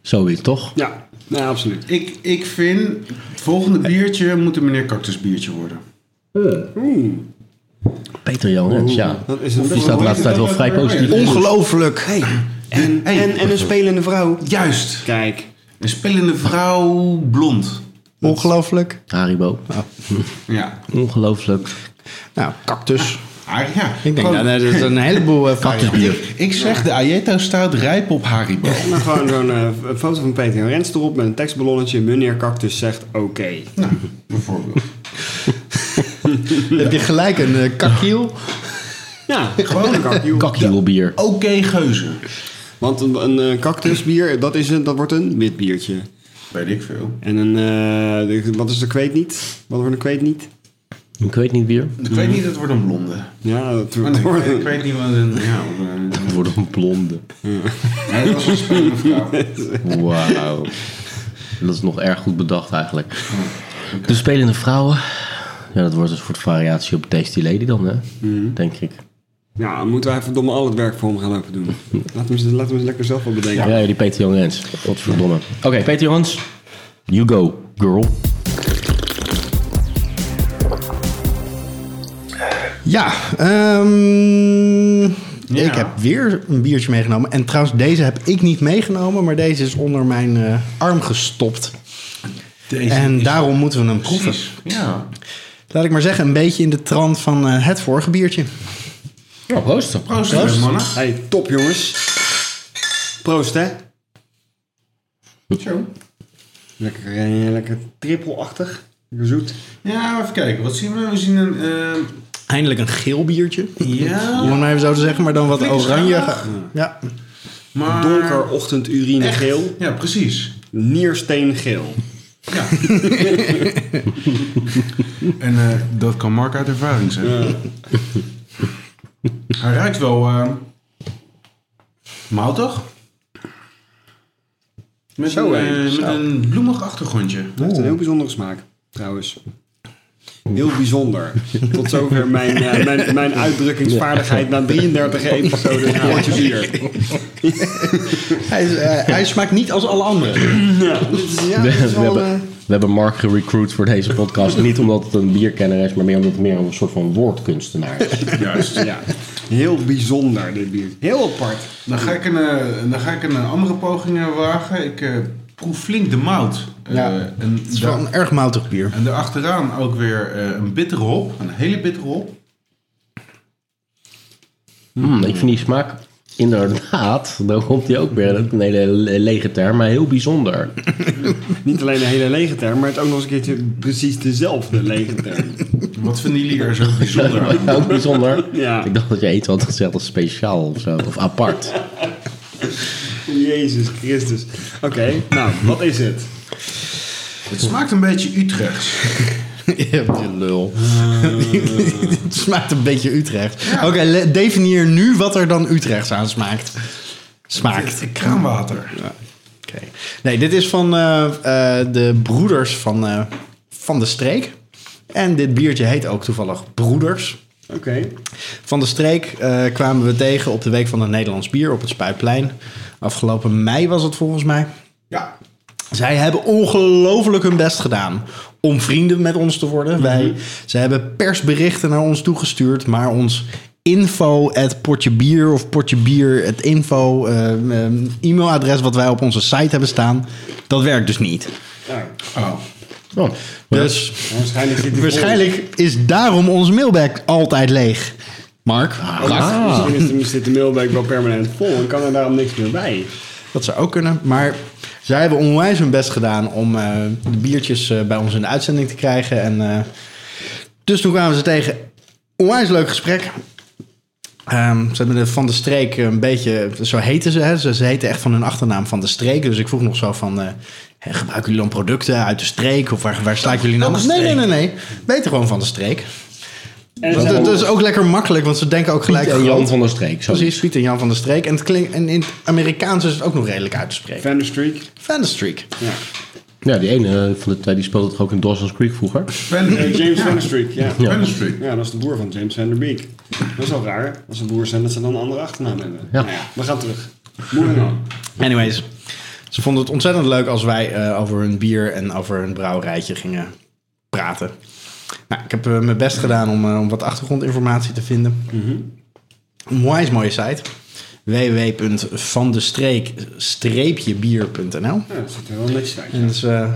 A: Zoiets, toch?
C: Ja, nee, absoluut.
D: ik, ik vind het volgende biertje moet een meneer Cactus biertje worden.
A: Peter Johan, ja.
C: Dat is een
A: Die staat de laatste tijd wel vrij positief.
B: Ongelooflijk.
C: En, en, en een spelende vrouw.
D: Juist,
C: Kijk,
D: een spelende vrouw blond.
B: Ongelooflijk.
A: Haribo.
D: Ja,
A: Ongelooflijk.
B: Nou, cactus.
D: ah, ja.
B: Ik denk,
D: Gewoon-
B: nou, nee, dat is een heleboel eh varianten.
D: Ik zeg, de Ajeto staat rijp op Haribo.
C: maar gewoon zo'n eh, een foto van Peter en Rens erop met een tekstballonnetje. Meneer Cactus zegt oké.
D: Nou, bijvoorbeeld.
B: Heb je gelijk een eh, kakiel?
C: Ja, gewoon een cactus.
A: Kakkielbier.
D: Oké, geuzen.
C: Want een, een eh, cactusbier, dat, is een, dat wordt een wit biertje.
D: Weet ik veel.
C: En een, eh, de- wat is de kweet niet? Wat wordt een kweet niet?
A: Ik weet niet bier.
D: Ik weet niet, het wordt een blonde.
C: Ja, dat
D: Maar
C: wordt
D: nee,
C: wordt
D: ik, weet, ik
C: een...
D: weet niet wat een... Ja, wat een-
A: Het wordt een blonde.
D: Nee, dat was een spannende vrouw.
A: Wauw. Dat is nog erg goed bedacht eigenlijk. De spelende vrouwen. Ja, dat wordt dus een soort variatie op Tasty Lady dan, hè? Denk ik.
C: Ja, dan moeten wij verdomme al het werk voor hem gaan lopen doen. Laten we ze, laten we ze lekker zelf wel bedenken.
A: Ja, die Peter Jongens. Godverdomme. Oké, Peter Jongens. You go, girl.
B: Ja, ehm,
D: Ja.
B: ik heb weer een biertje meegenomen. En trouwens, deze heb ik niet meegenomen, maar deze is onder mijn eh, arm gestopt.
D: Deze
B: en
D: is-
B: daarom moeten we hem proeven.
D: Precies. Ja.
B: Laat ik maar zeggen, een beetje in de trant van eh, het vorige biertje.
A: Nou, proost.
D: Proost,
B: Proost.
D: mannen.
C: Hey, top jongens. Proost hè.
D: Zo.
C: Lekker, eh, lekker trippelachtig. Lekker zoet.
D: Ja, even kijken. Wat zien we? We zien een... eh,
B: Eindelijk een geel biertje.
D: ja,
B: Om het maar even zo te zeggen, maar dan wat
D: Flink
B: oranje.
D: schalig.
B: Ja.
D: maar...
C: Donker ochtendurinegeel.
D: Echt? Ja, precies.
C: Niersteengeel.
D: Ja. en eh, dat kan Mark uit ervaring zijn. Hij ruikt wel eh moutig. Met,
C: Zo,
D: een,
C: hé.
D: eh, met
C: Zo.
D: een bloemig achtergrondje.
C: Het heeft een heel bijzondere smaak, trouwens. Heel bijzonder. Tot zover mijn, eh, mijn, mijn uitdrukkingsvaardigheid na 33 episodes van Hoortje Bier.
B: Hij, is, eh, hij smaakt niet als alle anderen.
C: Ja, dit is, ja,
A: We,
C: dit is
A: we
C: wel... eh,
A: hebben, we hebben Mark gerecruit voor deze podcast. Niet omdat het een bierkenner is, maar meer omdat het meer een soort van woordkunstenaar is.
D: Juist.
C: ja, heel bijzonder dit bier. Heel apart.
D: Dan ga ik een, eh, dan ga ik een eh, andere poging eh, wagen. Ik eh, proef flink de mout. Eh,
B: Ja.
D: en,
B: Het is wel een erg moutig bier.
D: en daarachteraan ook weer eh, een bittere hop. Een hele bittere hop.
A: Hmm, ik vind die smaak inderdaad, daar komt die ook weer, dat is een hele le- lege term, maar heel bijzonder.
C: Niet alleen een hele lege term, maar het ook nog eens een keertje precies dezelfde lege term.
D: Wat vinden jullie er zo bijzonder aan?
A: Ja, ook bijzonder.
C: Ja.
A: Ik dacht dat je iets had gezegd als speciaal of zo, of apart.
C: Jezus Christus. Oké, nou, wat is het?
D: Het smaakt een beetje Utrechts.
B: Je lul. het smaakt een beetje Utrecht. Oké, le- definieer nu wat er dan Utrechts aan smaakt. Smaakt.
D: Kraanwater.
B: Oké. Nee, dit is van eh, eh, de broeders van, eh, van de streek. En dit biertje heet ook toevallig Broeders.
C: Oké.
B: Van de streek eh, kwamen we tegen op de Week van het Nederlands Bier op het Spuiplein. Afgelopen mei was het volgens mij.
D: Ja.
B: Zij hebben ongelooflijk hun best gedaan om vrienden met ons te worden. Wij, zij hebben persberichten naar ons toegestuurd, maar ons info at potje bier of potje bier het info ehm, ehm, e-mailadres wat wij op onze site hebben staan, dat werkt dus niet.
C: Nou,
D: Oh.
A: Oh,
B: Dus
C: waarschijnlijk zit die
B: waarschijnlijk is daarom ons mailback altijd leeg. Ah, Mark,
C: vol. Misschien is de- misschien zit de mailbag wel permanent vol en kan er daarom niks meer bij.
B: Dat zou ook kunnen. Maar zij hebben onwijs hun best gedaan om eh, de biertjes eh, bij ons in de uitzending te krijgen. En, eh, dus toen kwamen ze tegen. Onwijs leuk gesprek. Ehm, ze hebben de Van de Streek een beetje... Zo heten ze, hè. Ze, ze heten echt van hun achternaam Van de Streek. Dus ik vroeg nog zo van... eh, hè, gebruiken jullie dan producten uit de streek? Of waar, waar slaan jullie nou?
D: Van de
B: Nee, nee,
D: Streek.
B: nee, nee. Beter gewoon Van de Streek.
C: En
B: Dat, dat is ook lekker makkelijk, want ze denken ook
A: Piet
B: gelijk...
A: en
B: groot.
A: Jan van der Streek. Zo.
B: Precies, Piet en Jan van de Streek. En, het klinkt, en in het Amerikaans is het ook nog redelijk uit te spreken.
C: Van der Streek.
B: Van de Streek.
C: Ja.
A: Ja, die ene eh, van de twee die speelde toch ook in Dawson's Creek vroeger.
C: Eh, James Van der Streek, ja. ja.
D: Van der Streek.
C: dat is de broer van James Van der Beek. Dat is wel raar. Als ze broers zijn, dat ze dan een andere achternaam hebben.
A: Ja.
C: Nou ja, we gaan terug. Moving on.
B: Anyways, ze vonden het ontzettend leuk als wij eh, over hun bier en over hun brouwerijtje gingen praten. Nou, ik heb eh, mijn best gedaan om, eh, om wat achtergrondinformatie te vinden. Een onwijs mooie site. www.vandestreek-bier.nl
C: Ja, dat zit er wel netjes uit.
B: En dat is eh,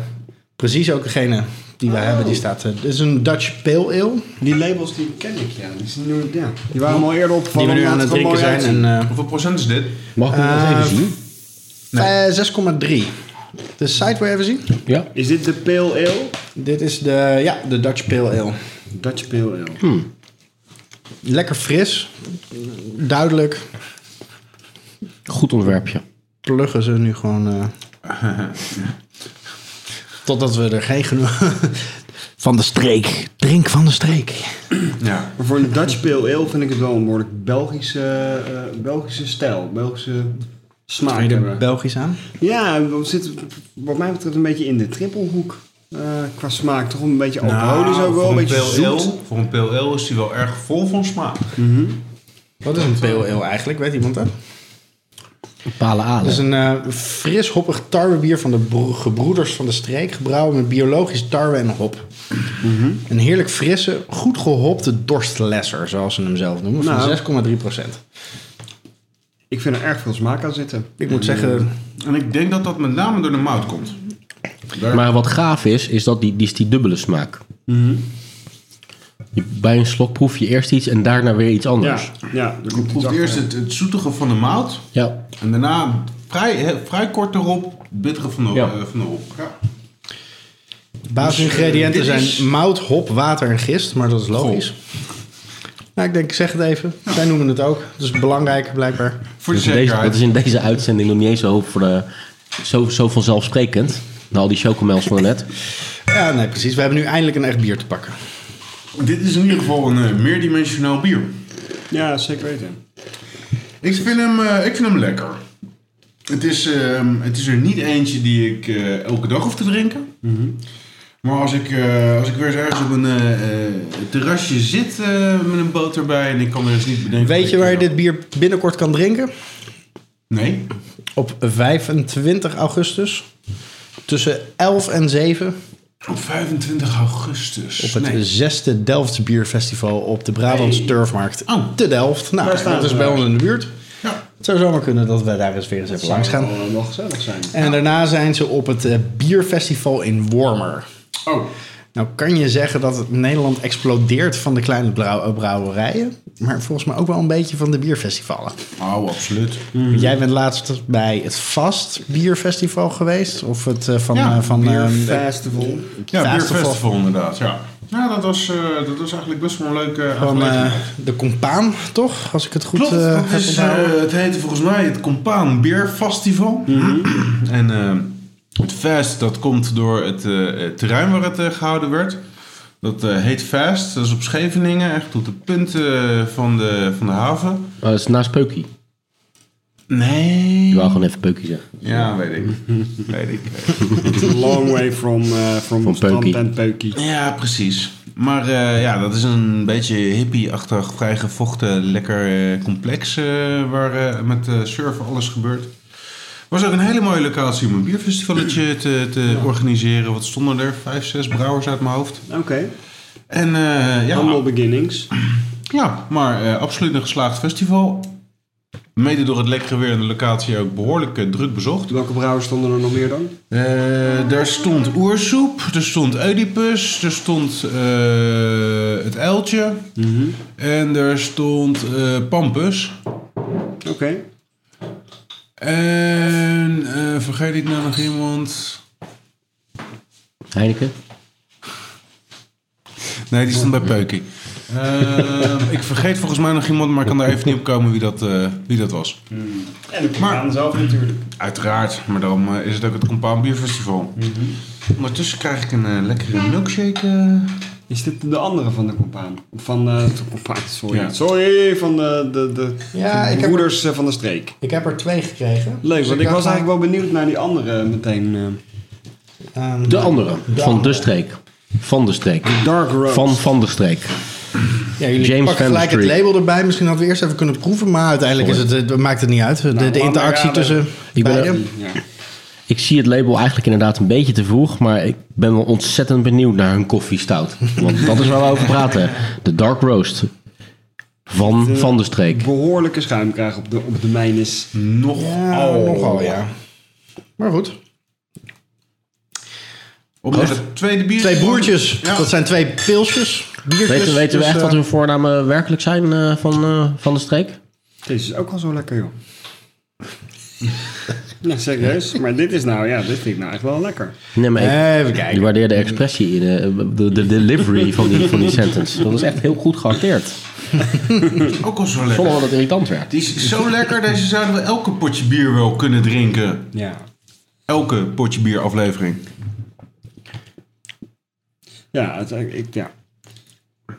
B: precies ook degene die wij hebben. Die staat, eh, dit is een Dutch Pale Ale.
C: Die labels die ken ik, ja. Die, zijn nu, ja. die waren al eerder
B: Die we
C: opgevallen.
B: nu aan
C: omdat
B: het
C: er
B: drinken
C: mooi
B: zijn.
C: uitzien.
B: En, eh,
D: Hoeveel procent is dit?
A: Mag ik hem wel eens even
B: Eh,
A: zien?
B: eh, 6,3. De site wil je even zien?
A: Ja.
C: Is dit de Pale Ale?
B: Dit is de, ja, de Dutch Pale Ale.
C: Dutch Pale Ale.
B: Lekker fris, duidelijk.
A: Goed ontwerpje.
B: Pluggen ze nu gewoon. eh, Totdat we er geen genoeg. Van de streek. Drink van de streek.
D: Ja.
C: Maar voor een Dutch Pale Ale vind ik het wel een behoorlijk Belgische, eh, Belgische stijl. Belgische smaak
B: Ga je er
C: hebben.
B: Belgisch aan?
C: Ja, we zitten wat mij betreft een beetje in de trippelhoek. eh, qua smaak toch een beetje
B: Nou,
D: Nou,
C: alcoholisch ook wel, een beetje
D: pale ale-
C: zoet. Mm.
D: Voor een pale ale is die wel erg vol van smaak.
B: Wat is een pale ale eigenlijk? Weet iemand dat?
A: Palen aan.
B: Het is een eh, fris hoppig tarwebier van de bro- gebroeders van de streek. Gebrouwen met biologisch tarwe en hop. Een heerlijk frisse, goed gehopte dorstlesser, zoals ze hem zelf noemen.
C: Nou.
B: Van 6,3 procent.
C: Ik vind er erg veel smaak aan zitten.
B: Ik moet zeggen,
D: En ik denk dat dat met name door de mout komt.
A: Maar wat gaaf is, is dat die, die, is die dubbele smaak. Je, bij een slok proef je eerst iets en daarna weer iets anders.
C: Ja, eh, ja, er komt iets
D: Proeft eerst
C: achter.
D: het, het zoetige van de mout.
A: Ja.
D: En daarna vrij, hè, vrij kort erop het bittere van de,
A: Ja.
D: eh, van de hop. Ja.
B: Basisingrediënten
D: Dus, eh, dit is-
B: zijn mout, hop, water en gist, maar dat is logisch. Nou, ik denk, ik zeg het even. Zij noemen het ook. Dat is belangrijk, blijkbaar.
D: Voor de
A: Dus in deze,
D: zekerheid.
A: dat is in deze uitzending nog niet eens zo, voor de, zo, zo vanzelfsprekend. Na al die chocomels van net.
B: Ja, nee, precies. We hebben nu eindelijk een echt bier te pakken.
D: Dit is in ieder geval een eh, meerdimensionaal bier.
C: Ja, zeker weten.
D: Ik vind hem, eh, ik vind hem lekker. Het is, ehm, het is er niet eentje die ik eh, elke dag hoef te drinken. Maar als ik, eh, als ik weer eens ergens op een eh, eh, terrasje zit eh, met een boot erbij en ik kan er eens niet bedenken.
B: Weet
D: wat
B: je waar je
D: nou-
B: dit bier binnenkort kan drinken?
D: Nee.
B: Op 25 augustus. Tussen 11 en 7
D: Op 25 augustus.
B: op het
D: Nee.
B: zesde Delfts Bierfestival op de Brabants Turfmarkt
D: Oh.
B: te Delft.
C: Daar
B: Nou,
C: staan
B: dat is
C: we.
B: bij ons in de buurt.
D: Ja.
B: Het zou zomaar kunnen dat we daar eens weer eens even langs gaan.
D: Oh,
C: Zal wel gezellig zijn.
B: En daarna zijn ze op het eh, bierfestival in Wormer.
D: Oh.
B: Nou kan je zeggen dat het Nederland explodeert van de kleine brou- brouwerijen. Maar volgens mij ook wel een beetje van de bierfestivalen.
D: Oh, absoluut.
B: Jij bent laatst bij het Vast Bierfestival geweest. Of het eh, van...
D: Ja,
B: eh, van
C: Beer
B: eh,
C: Festival.
D: Ja,
B: Festival.
D: bierfestival inderdaad. Ja, ja dat, was, eh, dat was eigenlijk best wel een leuke
B: van eh,
D: aangelegenheid.
B: de Compaan, toch? Als ik het goed
D: Klopt,
B: eh,
D: dat
B: heb
D: is,
B: onthouden.
D: eh, het heette volgens mij het Compaan Beer Festival.
B: Mhm.
D: en eh, het Fest dat komt door het eh, het terrein waar het eh, gehouden werd. Dat eh, heet Fest, dat is op Scheveningen, echt op de punt eh, van, de, van de haven.
A: Maar dat is naast Peukie.
D: Nee.
A: Je wou gewoon even Peukie zeggen.
D: Ja, weet ik. weet ik. weet ik.
C: It's a long way from, eh from,
A: Van
C: Strand
A: Peukie.
C: en Peukie.
D: Ja, precies. Maar eh, ja, dat is een beetje hippie-achtig, vrij gevochten, lekker eh, complex eh, waar eh, met eh, surfen alles gebeurt. was ook een hele mooie locatie om een bierfestivalletje te, te organiseren. Wat stonden er? Vijf, zes brouwers uit mijn hoofd.
C: Oké,
D: En eh,
C: humble
D: ja,
C: beginnings.
D: ja, maar eh, absoluut een geslaagd festival. Mede door het lekkere weer en de locatie ook behoorlijk eh, druk bezocht.
C: Welke brouwers stonden er nog meer dan?
D: Eh, daar stond oersoep, er stond Oedipus, er stond eh, het uiltje
B: Mhm.
D: en er stond eh, Pampus.
C: Oké.
D: En eh, vergeet ik nou nog iemand?
A: Heineken?
D: Nee, die stond bij Peukie. Eh, ik vergeet volgens mij nog iemand, maar ik kan daar even niet op komen wie dat, eh, wie dat was.
C: En de
D: Maar- aan
C: zelf natuurlijk.
D: Uiteraard, maar daarom eh, is het ook het Compound Beer Festival.
B: Mhm.
D: Ondertussen krijg ik een eh, lekkere milkshake. eh,
C: Is dit de andere van de compaan? Van eh, de compaan, sorry.
D: Ja.
C: Sorry, van de, de, de
B: Ja, ik heb-
C: broeders eh, van de streek.
B: Ik heb er twee gekregen.
C: Leuk,
B: Dus
C: want ik was
B: dacht,
C: eigenlijk wel benieuwd naar die andere meteen. eh.
B: ehm,
A: De andere. van
B: andere.
A: de streek. Van de streek.
C: Dark Road.
A: Van Van de streek.
B: Ja, jullie
A: James
B: pakken
A: Van
B: gelijk het
A: Street.
B: label erbij. Misschien hadden we eerst even kunnen proeven. Maar uiteindelijk is het, het- maakt het niet uit. De, de
C: Nou, maar
B: interactie
C: ja, we-
B: tussen
A: Ik ben
B: beiden.
C: Ja.
A: Ik zie het label eigenlijk inderdaad een beetje te vroeg, maar ik ben wel ontzettend benieuwd naar hun koffiestout. Want dat is waar we over praten. De Dark Roast. Van Van de Streek.
C: Behoorlijke schuim krijgen op de, op de mijn is.
D: Nog
B: Ja,
C: Oh.
B: nogal, ja. Maar goed.
D: Op naar het tweede bier.
B: Twee broertjes.
D: Ja.
B: Dat zijn twee pilsjes. Biertjes.
A: Weten, weten we
B: Dus,
A: echt
B: eh,
A: wat hun voornamen werkelijk zijn eh, van, eh, van de Streek?
C: Deze is ook al zo lekker, joh. Ja, serieus. Maar dit is nou, ja, dit vind ik nou echt wel lekker.
A: Nee, maar ik,
B: Even
A: ik
B: kijken.
A: waardeer de expressie, in, eh, de, de delivery van die, van die sentence. Dat is echt heel goed geacteerd.
D: Ook al zo lekker.
A: Zonder dat het irritant werd.
D: Die is zo lekker, deze zouden we elke potje bier wel kunnen drinken.
C: Ja.
D: Elke potje bier aflevering.
C: Ja, het, ik, ja.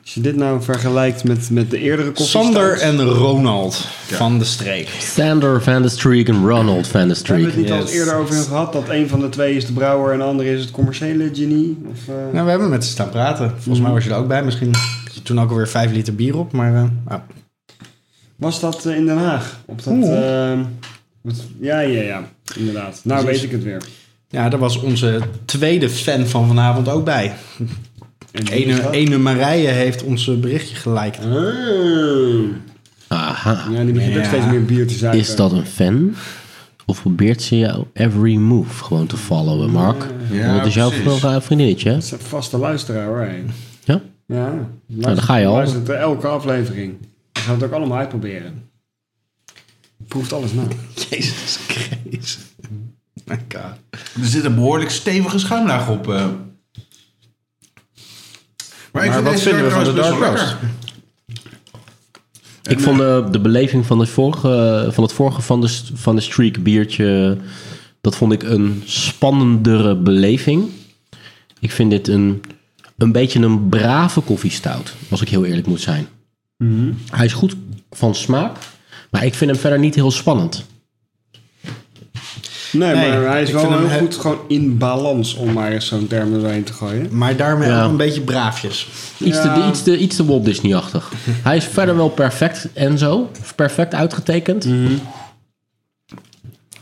C: Als je dit nou vergelijkt met, met de eerdere koffie.
B: Sander en Ronald van de streek.
A: Sander Van de Streek en Ronald Van de
C: Hebben
A: Streek.
C: we het niet al
B: Yes.
C: eerder over hun gehad? Dat een van de twee is de brouwer en de andere is het commerciële genie? Of, eh,
B: Nou, we hebben met ze staan praten. Volgens mij was je er ook bij. Misschien had je toen ook alweer vijf liter bier op. Maar eh, nou,
C: Was dat eh, in Den Haag? Op dat,
B: Oeh.
C: ehm, wat- ja, ja, ja. Inderdaad. Nou weet ik het weer.
B: ja, daar was onze tweede fan van vanavond ook bij.
C: En wie is
B: Ene,
C: dat?
B: ene Marije heeft ons eh, berichtje geliked.
C: Oh.
A: Aha.
C: Ja, die begint ook
B: Ja.
C: steeds meer bier te zuipen.
A: Is dat een fan? Of probeert ze jouw every move gewoon te followen, Mark?
D: Ja,
A: Want dat is jouw
D: precies.
A: vrouw- vriendinnetje, hè?
C: Dat is een vaste luisteraar, hoor. hè.
A: Ja?
C: Ja, luister-
A: Nou, dan ga je al.
C: luister naar elke aflevering. We gaan het ook allemaal uitproberen. Proeft alles na.
B: Jezus Christus. My god.
D: Er zit een behoorlijk stevige schuimlaag op. eh. Maar, ik
B: Maar wat
D: deze
B: vinden we van de
D: Roast
B: Dark
D: best wel
B: Roast?
D: lekker.
A: Ik vond
D: eh,
A: de, de beleving van het vorige van, het vorige van, de, st- van de streak biertje... dat vond ik een spannendere beleving. Ik vind dit een, een beetje een brave koffiestout. Als ik heel eerlijk moet zijn.
D: Mhm.
A: Hij is goed van smaak. Maar ik vind hem verder niet heel spannend.
C: Nee,
B: Nee,
C: maar hij is
B: ik
C: wel
B: vind hem
C: heel
B: he-
C: goed gewoon in balans, om maar eens zo'n term doorheen te gooien.
B: Maar daarmee
A: Ja.
B: ook een beetje braafjes.
A: Iets,
C: Ja.
A: te, iets, te, iets te Walt Disney-achtig. Hij is verder wel perfect en zo. Perfect uitgetekend.
B: Mhm.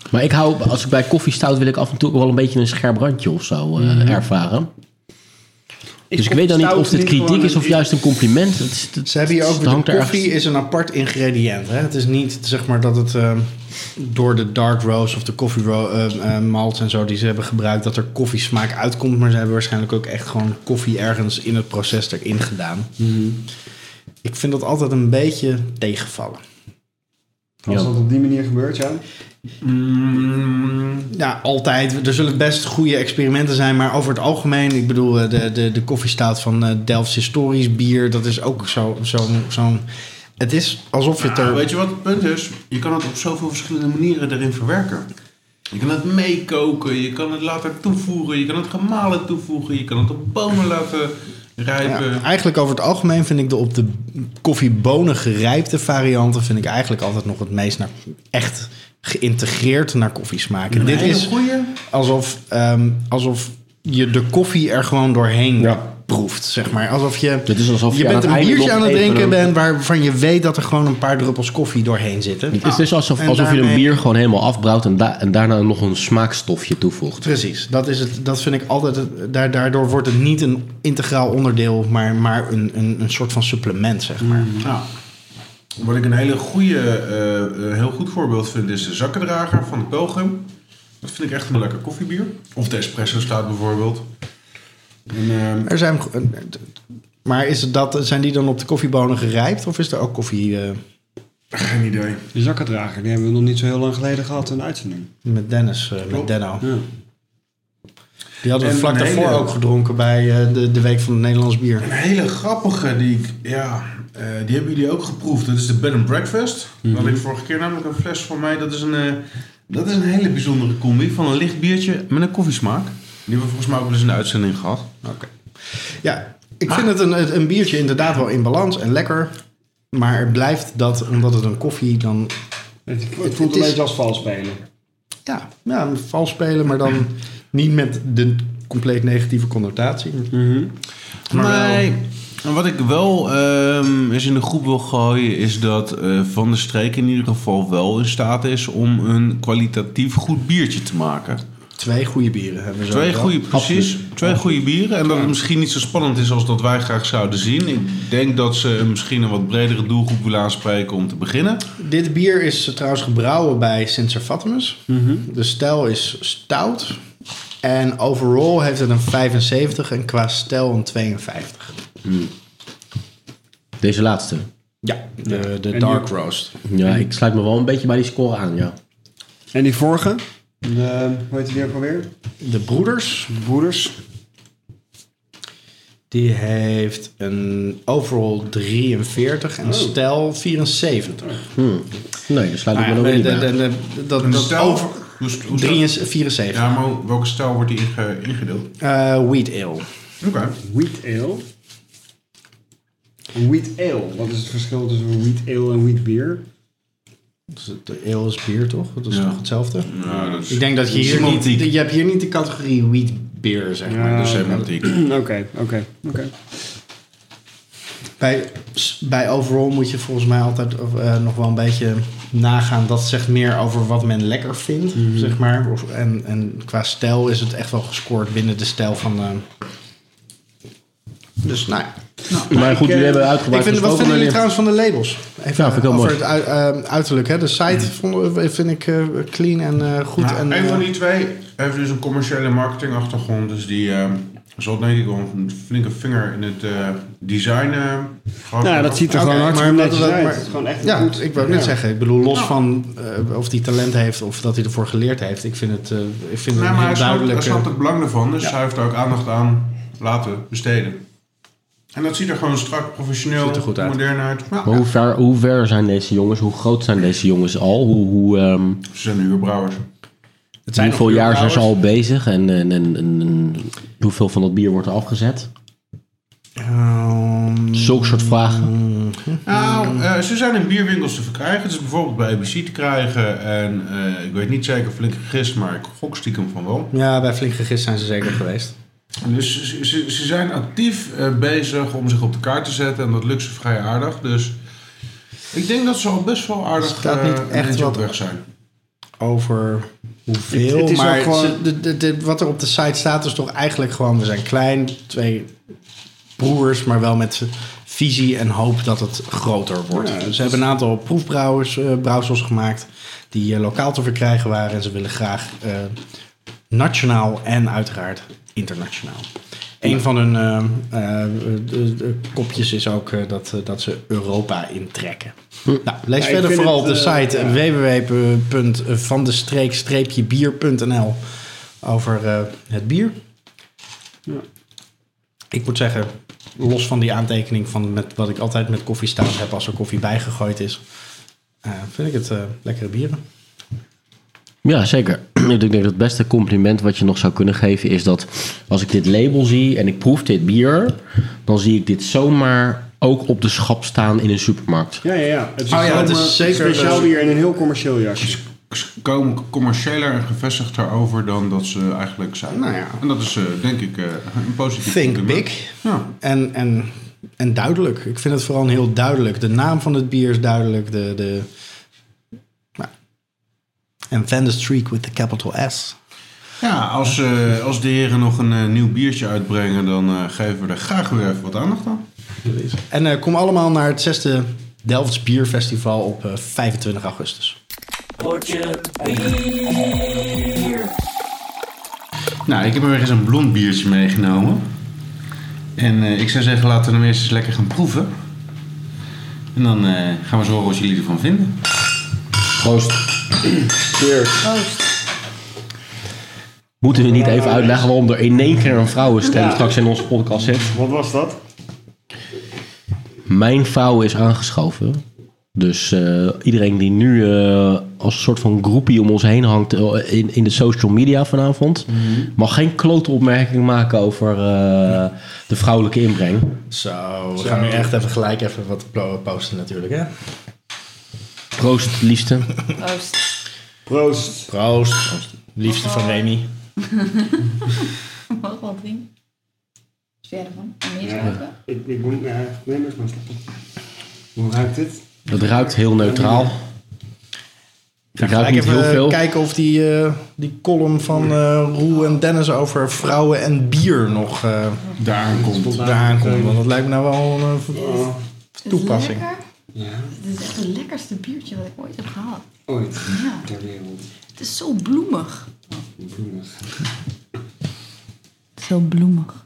A: Maar ik hou, als ik bij koffie stout, wil ik af en toe ook wel een beetje een scherp randje of zo eh,
B: Mhm.
A: ervaren. Dus ik weet dan niet of dit kritiek is of juist een compliment. Het, is- het-
B: Ze hebben hier
A: het
B: ook weer
A: hangt
B: de
A: er
B: koffie
A: ergens-
B: is een apart ingrediënt. Hè? Het is niet zeg maar dat het ehm, door de dark roast of de koffie ro- ehm, ehm, malt en zo die ze hebben gebruikt dat er koffiesmaak uitkomt, maar ze hebben waarschijnlijk ook echt gewoon koffie ergens in het proces erin gedaan. Ik vind dat altijd een beetje tegenvallen.
C: Als dat op die manier gebeurt, ja.
D: Mm,
B: Ja, altijd. Er zullen best goede experimenten zijn, maar over het algemeen, ik bedoel, eh, de, de, de koffiestaat van eh, Delfts historisch bier, dat is ook zo- zo'n. zo'n- het is alsof je het
D: nou,
B: er.
D: weet je wat het punt is? Je kan het op zoveel verschillende manieren erin verwerken. Je kan het meekoken, je kan het later toevoegen, je kan het gemalen toevoegen, je kan het op bomen laten rijpen.
B: Ja, eigenlijk over het algemeen vind ik de op de koffiebonen gerijpte varianten vind ik eigenlijk altijd nog het meest naar echt geïntegreerd naar koffiesmaak. En dit
D: Hele
B: is
D: goeie.
B: alsof, ehm, alsof je de koffie er gewoon doorheen proeft, zeg maar. Alsof je,
A: Dit is alsof je aan
B: bent
A: het
B: een
A: einde
B: biertje
A: nog
B: aan het
A: even
B: drinken
A: een-
B: bent waarvan je weet dat er gewoon een paar druppels koffie doorheen zitten.
A: Het is dus alsof,
B: En
A: alsof je een
B: daarmee-
A: bier gewoon helemaal afbrouwt en, da- en daarna nog een smaakstofje toevoegt.
B: Precies, dat, is het, dat vind ik altijd. het- daar- Daardoor wordt het niet een integraal onderdeel, maar, maar een, een, een soort van supplement, zeg maar.
A: Mm.
D: Nou, wat ik een hele goede, eh, eh, heel goed voorbeeld vind is de zakkendrager van de Pelgrim. Dat vind ik echt een lekker koffiebier. Of de espresso staat bijvoorbeeld. En, ehm,
B: Er zijn, maar is het dat, zijn die dan op de koffiebonen gerijpt of is er ook koffie eh,
D: geen idee.
C: Die zakkendrager, die hebben we nog niet zo heel lang geleden gehad in de uitzending.
B: met Dennis, eh, met
D: Klopt.
B: Denno?
C: Ja.
B: Die hadden we
D: En
B: vlak
D: een
B: daarvoor
D: hele-
B: ook gedronken bij eh, de, de Week van het Nederlands Bier.
D: Een hele grappige die ik, ja, eh, die hebben jullie ook geproefd. Dat is de Bed and Breakfast. Daar had ik vorige keer namelijk een fles van mij. Dat is een, eh, dat is een hele bijzondere combi van een licht biertje met een koffiesmaak. Die hebben we volgens mij ook wel eens in de uitzending gehad.
B: Ja, ik vind het een, een biertje inderdaad wel in balans en lekker. Maar het blijft dat, omdat het een koffie dan...
C: Het, het
B: Het
C: voelt een
B: is-
C: beetje als vals spelen.
B: Ja, ja vals spelen, maar dan niet met de compleet negatieve connotatie. Maar
D: nee. En wat ik wel ehm, eens in de groep wil gooien is dat eh, Van der Streek in ieder geval wel in staat is om een kwalitatief goed biertje te maken.
B: Twee goede bieren hebben we zo.
D: Twee goede, precies, twee goede bieren. En dat het misschien niet zo spannend is als dat wij graag zouden zien. Ik denk dat ze misschien een wat bredere doelgroep willen aanspreken om te beginnen.
B: Dit bier is eh, trouwens gebrouwen bij Sint Servatimus. De stijl is stout. En overall heeft het een 75 en qua stijl een 52.
A: Deze laatste.
B: Ja, de, de
C: En
B: dark
C: die-
B: roast.
A: Ja, ik sluit me wel een beetje bij die score aan, ja.
C: En die vorige? De, hoe heet die ook alweer?
B: De broeders,
C: De broeders.
B: die heeft een overall 43
D: Oh.
B: en stijl 74.
A: Nee, daar sluit ik me dan
B: Nou ja,
A: weer
B: de,
A: niet
B: de,
A: bij aan.
B: de- dat,
D: Een
B: dat
D: stijl-
B: over...
D: hoe is- hoe is dat?
B: 73, 74.
D: Ja, maar welke stijl wordt die inge- ingedeeld?
B: Eh, wheat ale.
D: Oké.
C: Wheat ale. Wheat ale. Wat is het verschil tussen wheat ale en wheat beer?
B: Dus de ale is bier, toch? Dat is
D: Ja.
B: toch hetzelfde?
D: Nou, dat is,
B: Ik denk dat je hier niet... Je hebt hier niet de categorie wheat beer, zeg maar.
D: dat is semantiek.
C: Oké, oké, oké.
B: Bij, bij overall moet je volgens mij altijd eh, nog wel een beetje nagaan. Dat zegt meer over wat men lekker vindt,
A: Mhm.
B: zeg maar. Of- En, en qua stijl is het echt wel gescoord binnen de stijl van... eh, dus nou ja.
A: Maar goed, jullie hebben
B: eh, Ik
A: uitgebreid
B: vind, wat
A: gesproken,
B: vinden jullie
A: meneer.
B: trouwens van de labels? Even
A: Ja, vind ik wel
B: over
A: mooi. Mhm.
B: het ui- eh, uiterlijk. Hè? De site vond, vind ik eh, clean en eh, goed.
D: Nou,
B: en,
D: een
B: eh,
D: van die twee heeft dus een commerciële marketingachtergrond. Dus die, ehm, Er zat denk ik wel een flinke vinger in het eh, design. eh, gehad
C: Nou, dat ziet er
B: Oké,
C: gewoon hartstikke
B: maar-
C: netjes
B: maar-
C: uit.
B: maar-
C: Het is gewoon echt
B: Ja,
C: goed.
B: ik wou net
C: Ja.
B: zeggen. Ik bedoel, los van eh, of hij talent heeft of dat hij ervoor geleerd heeft. Ik vind het, eh, ik vind
D: Nou,
B: het een
D: maar hij
B: heel
D: snapt, hij
B: duidelijk.
D: snapt het belang ervan, dus hij heeft er ook aandacht aan laten besteden. En dat ziet er gewoon strak, professioneel,
B: Ziet er goed uit.
D: modern uit. Ja,
A: Maar hoe ver, hoe ver zijn deze jongens? Hoe groot zijn deze jongens al? Hoe, hoe, ehm,
D: Ze zijn huurbrouwers.
B: het zijn
A: hoeveel
B: nog
A: jaar zijn ze
B: huurbrouwers.
A: al bezig? En, en, en, en- en hoeveel van dat bier wordt er afgezet?
B: Ehm,
A: Zulke soort vragen.
D: Nou, eh, ze zijn in bierwinkels te verkrijgen. Het is bijvoorbeeld bij ABC te krijgen. En eh, ik weet niet zeker, flink gegist, maar ik gok stiekem van wel.
B: ja, bij Flink Gegist zijn ze zeker geweest.
D: Dus ze, ze- ze zijn actief eh, bezig om zich op de kaart te zetten. En dat lukt ze vrij aardig. Dus ik denk dat ze al best wel aardig
B: staat niet
D: eh,
B: echt
D: mensen op
B: wat-
D: weg zijn.
B: Over hoeveel.
C: Het- het is
B: maar
C: ook gewoon-
B: ze- de- de- de- wat er op de site staat is toch eigenlijk gewoon... We zijn klein, twee broers, maar wel met visie en hoop dat het groter wordt.
C: Ja, dat
B: ze hebben een aantal proefbrouwers, eh, brouwsels gemaakt die eh, lokaal te verkrijgen waren. En ze willen graag eh, nationaal en uiteraard internationaal. Een van hun eh, eh, de- de kopjes is ook eh, dat, eh, dat ze Europa intrekken. Nou, lees
C: Ja, ik
B: verder
C: vind
B: vooral op
C: het,
B: de
C: eh,
B: site
C: ja.
B: www.vandestreek-bier.nl over eh, het bier.
C: Ja.
B: Ik moet zeggen, los van die aantekening van met, wat ik altijd met koffie staan heb als er koffie bijgegooid is, eh, vind ik het eh, lekkere bieren.
A: Ja, zeker. Ik denk dat het beste compliment wat je nog zou kunnen geven is dat als ik dit label zie en ik proef dit bier, dan zie ik dit zomaar ook op de schap staan in een supermarkt.
C: Ja, ja, ja. Het is,
B: Oh ja, het is
C: zomaar
B: zeker-
C: speciaal
B: eh,
C: bier en een heel commercieel jasje.
D: Ze komen commerciëler en gevestigder over dan dat ze eigenlijk zijn.
B: Nou ja.
D: En dat is eh, denk ik eh, een positief
B: Think
D: compliment.
B: big.
D: Ja.
B: En, en, en duidelijk. Ik vind het vooral heel duidelijk. De naam van het bier is duidelijk. De, de, nou. En Van de Streak with the capital S.
D: Ja, als, eh, als de heren nog een eh, nieuw biertje uitbrengen, dan eh, geven we er graag weer even wat aandacht aan.
B: En eh, kom allemaal naar het zesde Delfts Bierfestival op eh, 25 augustus.
D: Nou, ik heb er weer eens een blond biertje meegenomen. En eh, ik zou zeggen, laten we hem eerst eens lekker gaan proeven. En dan eh, gaan we eens horen wat jullie ervan vinden.
A: Proost. Moeten we niet even uitleggen waarom er in één keer een vrouwenstem straks in onze podcast zit?
C: Wat was dat?
A: Mijn vrouw is aangeschoven. Dus eh, iedereen die nu eh, als een soort van groepie om ons heen hangt eh, in, in de social media vanavond,
C: Mhm.
A: mag geen klote opmerking maken over eh, de vrouwelijke inbreng.
B: Zo, we gaan nu echt even gelijk even wat pro- posten natuurlijk, hè?
A: Proost, liefste.
G: Oost.
C: Proost.
B: Proost. Liefste van Remy.
G: Mag wel drinken? Wat vind jij ervan? En meer smaken?
C: Ik, ik moet naar... nee, maar maar stoppen. Hoe ruikt dit?
A: Het ruikt heel neutraal. Ik ruik
B: Gelijk
A: niet
B: even
A: heel veel.
B: Eh, kijken of die, eh, die column van eh, Roel en Dennis over vrouwen en bier nog eh
D: Daar komt.
B: daaraan komt. Want dat lijkt me nou wel een eh, v-
C: Oh,
B: toepassing.
G: Het is lekker.
C: ja.
G: Het is echt het lekkerste biertje wat ik ooit heb gehad.
C: Ooit
G: Ja.
C: ter wereld.
G: Het is zo bloemig.
C: Bloemig.
G: Zo bloemig.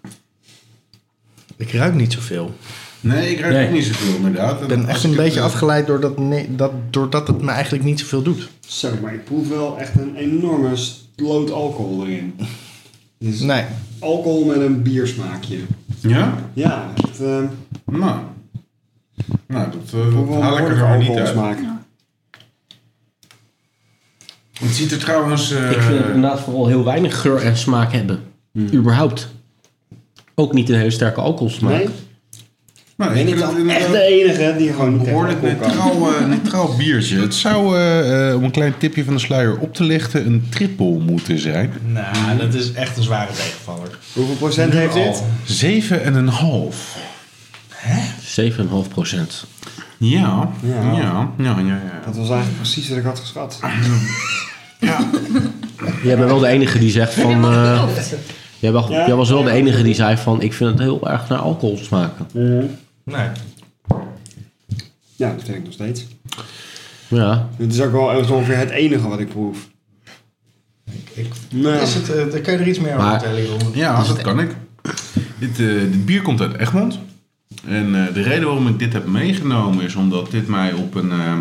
B: Ik ruik niet zoveel.
D: Nee, ik ruik
A: Nee.
D: ook niet zoveel inderdaad.
B: Ik ben echt een beetje
D: eh,
B: afgeleid doordat, nee, dat, doordat het me eigenlijk niet zoveel doet.
C: Zo, maar ik proef wel echt een enorme sloot alcohol erin. Dus
B: Nee.
C: alcohol met een biersmaakje.
D: Ja?
C: Ja, het eh
D: Nou. Nou, dat, eh,
C: proef
D: dat
C: wel een
D: haal ik er
C: behoorlijke
D: gewoon niet uit.
C: alcoholsmaak.
D: Het ziet er trouwens... eh,
A: Ik vind het inderdaad vooral heel weinig geur en smaak hebben. Überhaupt. Ook niet een hele sterke alcoholsmaak.
C: Nee? Ben ik
D: nou, ik vind het
C: dan
D: inderdaad-
C: echt de enige die gewoon niet
D: behoorlijk
C: tegen alcohol kan?
D: neutraal, eh, neutraal biertje. Het zou, eh, eh, om een klein tipje van de sluier op te lichten, een triple moeten zijn.
B: Nou, dat is echt een zware tegenvaller.
C: Hoeveel procent heeft dit?
D: 7,5.
A: 7,5 procent.
D: Ja,
C: Ja.
D: ja, ja, ja. ja,
C: Dat was eigenlijk precies wat ik had geschat.
A: Jij bent wel de enige die zegt van... eh, jij, was,
C: Ja?
A: jij was wel de enige die zei van... Ik vind het heel erg naar alcohol smaken.
B: Nee.
C: Ja, dat vind ik nog steeds.
A: Ja.
C: Dit is ook wel zo ongeveer het enige wat ik proef. Nou,
B: Ik,
C: Nee.
B: Is het, eh, daar kun je er iets meer over
A: Maar-
B: vertellen, Jeroen?
D: Ja, dat kan ik. Dit, eh, dit bier komt uit Egmond. En eh, de reden waarom ik dit heb meegenomen is omdat dit mij op een eh,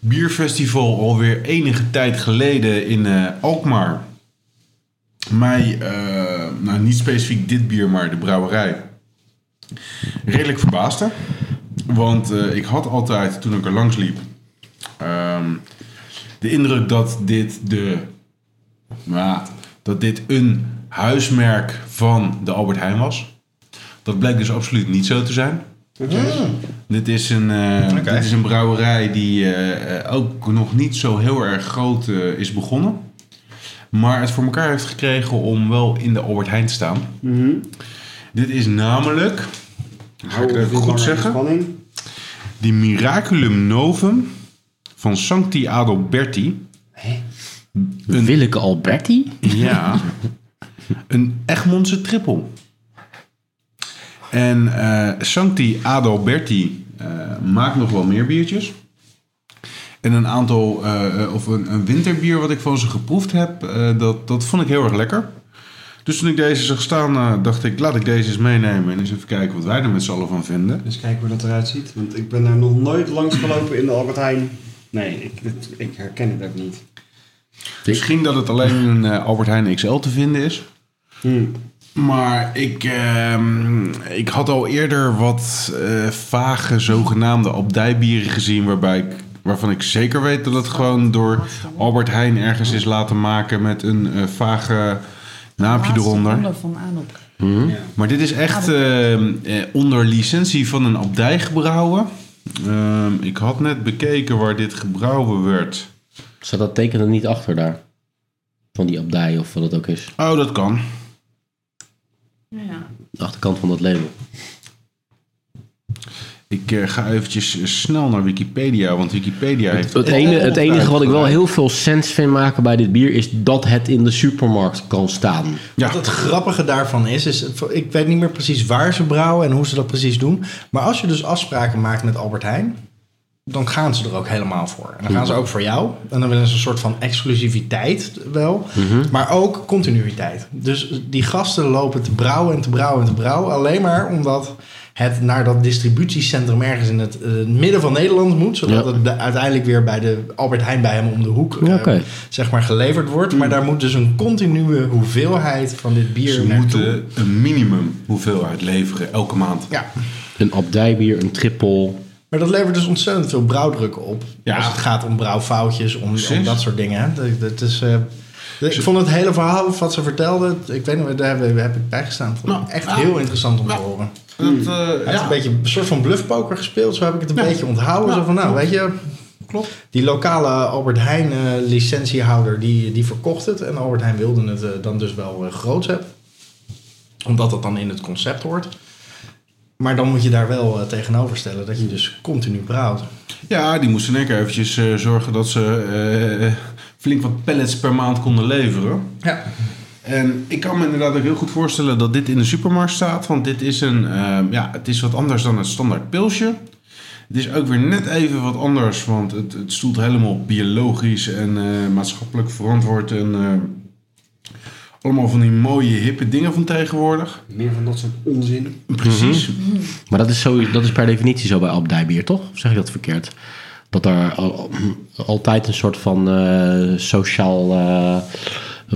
D: bierfestival alweer enige tijd geleden in eh, Alkmaar. Mij, eh, nou niet specifiek dit bier, maar de brouwerij. Redelijk verbaasde. Want eh, ik had altijd, toen ik er langs liep, ehm, de indruk dat dit de maar dat dit een huismerk van de Albert Heijn was. Dat blijkt dus absoluut niet zo te zijn. Dit, is een, eh, dit is een brouwerij die eh, eh, ook nog niet zo heel erg groot eh, is begonnen. Maar het voor elkaar heeft gekregen om wel in de Albert Heijn te staan. Dit is namelijk, ga ik het even goed zeggen,
C: Spanning.
D: die Miraculum Novum van Sancti Adalberti.
A: Willeke Alberti?
D: Ja. Een Egmondse trippel. En eh, Sancti Adalberti eh, maakt nog wel meer biertjes. En een aantal, eh, eh, of een, een winterbier wat ik van ze geproefd heb, eh, dat, dat vond ik heel erg lekker. Dus toen ik deze zag staan, eh, dacht ik, laat ik deze eens meenemen en eens even kijken wat wij er met z'n allen van vinden.
C: Eens kijken hoe dat eruit ziet. Want ik ben daar nog nooit langs gelopen in de Albert Heijn. Nee, ik, het- ik herken het ook niet.
D: Misschien dat het alleen in eh, Albert Heijn XL te vinden is.
C: Hmm.
D: Maar ik, ehm, ik had al eerder wat eh, vage zogenaamde abdijbieren gezien... Waarbij ik, waarvan ik zeker weet dat het gewoon door Albert Heijn ergens is laten maken... met een eh, vage naampje eronder.
H: van Anop.
D: Maar dit is echt ehm, eh, onder licentie van een abdij gebrouwen. Ehm, ik had net bekeken waar dit gebrouwen werd.
A: Zat dat teken er niet achter daar? Van die abdij of wat het ook is.
D: Oh, dat kan.
H: Ja.
A: De achterkant van dat label.
D: Ik eh, ga eventjes snel naar Wikipedia, want Wikipedia heeft...
A: Het, ene, het enige wat ik wel
D: uitgebreid.
A: heel veel sens vind maken bij dit bier is dat het in de supermarkt kan staan.
D: Ja.
B: Wat het grappige daarvan is, is, ik weet niet meer precies waar ze brouwen en hoe ze dat precies doen. Maar als je dus afspraken maakt met Albert Heijn, dan gaan ze er ook helemaal voor. En dan gaan ze ook voor jou. En dan willen ze een soort van exclusiviteit wel,
A: Mhm.
B: maar ook continuïteit. Dus die gasten lopen te brouwen en te brouwen en te brouwen, alleen maar omdat het naar dat distributiecentrum ergens in het eh, midden van Nederland moet, zodat
A: Ja.
B: het de- uiteindelijk weer bij de Albert Heijn bij hem om de hoek
A: Ja,
B: eh,
A: oké. Mhm.
B: zeg maar geleverd wordt. Maar daar moet dus een continue hoeveelheid van dit bier
D: Ze
B: naartoe.
D: moeten een minimum hoeveelheid leveren elke maand.
B: Ja,
A: Een abdijbier, een trippel.
B: maar dat levert dus ontzettend veel brouwdrukken op.
D: Ja.
B: Als het gaat om brouwfoutjes, om, om
D: Precies.
B: dat soort dingen. hè. Dat, dat is, eh, ik vond het hele verhaal wat ze vertelde, ik weet niet, daar heb, heb ik bij gestaan. Vond ik
D: Nou,
B: echt
D: ja.
B: heel interessant om te horen.
D: Dat, eh,
B: Hij heeft
D: ja.
B: een beetje een soort van bluffpoker gespeeld. Zo heb ik het een beetje onthouden. zo van, nou, weet je... Klopt. Die lokale Albert Heijn eh, licentiehouder, die, die verkocht het. En Albert Heijn wilde het eh, dan dus wel groot groots hebben. Omdat dat dan in het concept hoort. Maar dan moet je daar wel eh, tegenover stellen dat je dus continu brouwt.
D: ja, die moesten lekker eventjes eh, zorgen dat ze eh, flink wat pallets per maand konden leveren.
B: Ja.
D: En ik kan me inderdaad ook heel goed voorstellen dat dit in de supermarkt staat. Want dit is een, eh, ja, het is wat anders dan het standaard pilsje. Het is ook weer net even wat anders, want het, het stoelt helemaal op biologisch en eh, maatschappelijk verantwoord. En eh, allemaal van die mooie, hippe dingen van tegenwoordig.
C: Meer van dat soort onzin.
B: Mhm.
D: Precies.
A: Maar dat is, zo, dat is per definitie zo bij abdijbier, toch? Of zeg ik dat verkeerd? Dat daar al- altijd een soort van eh, sociaal eh,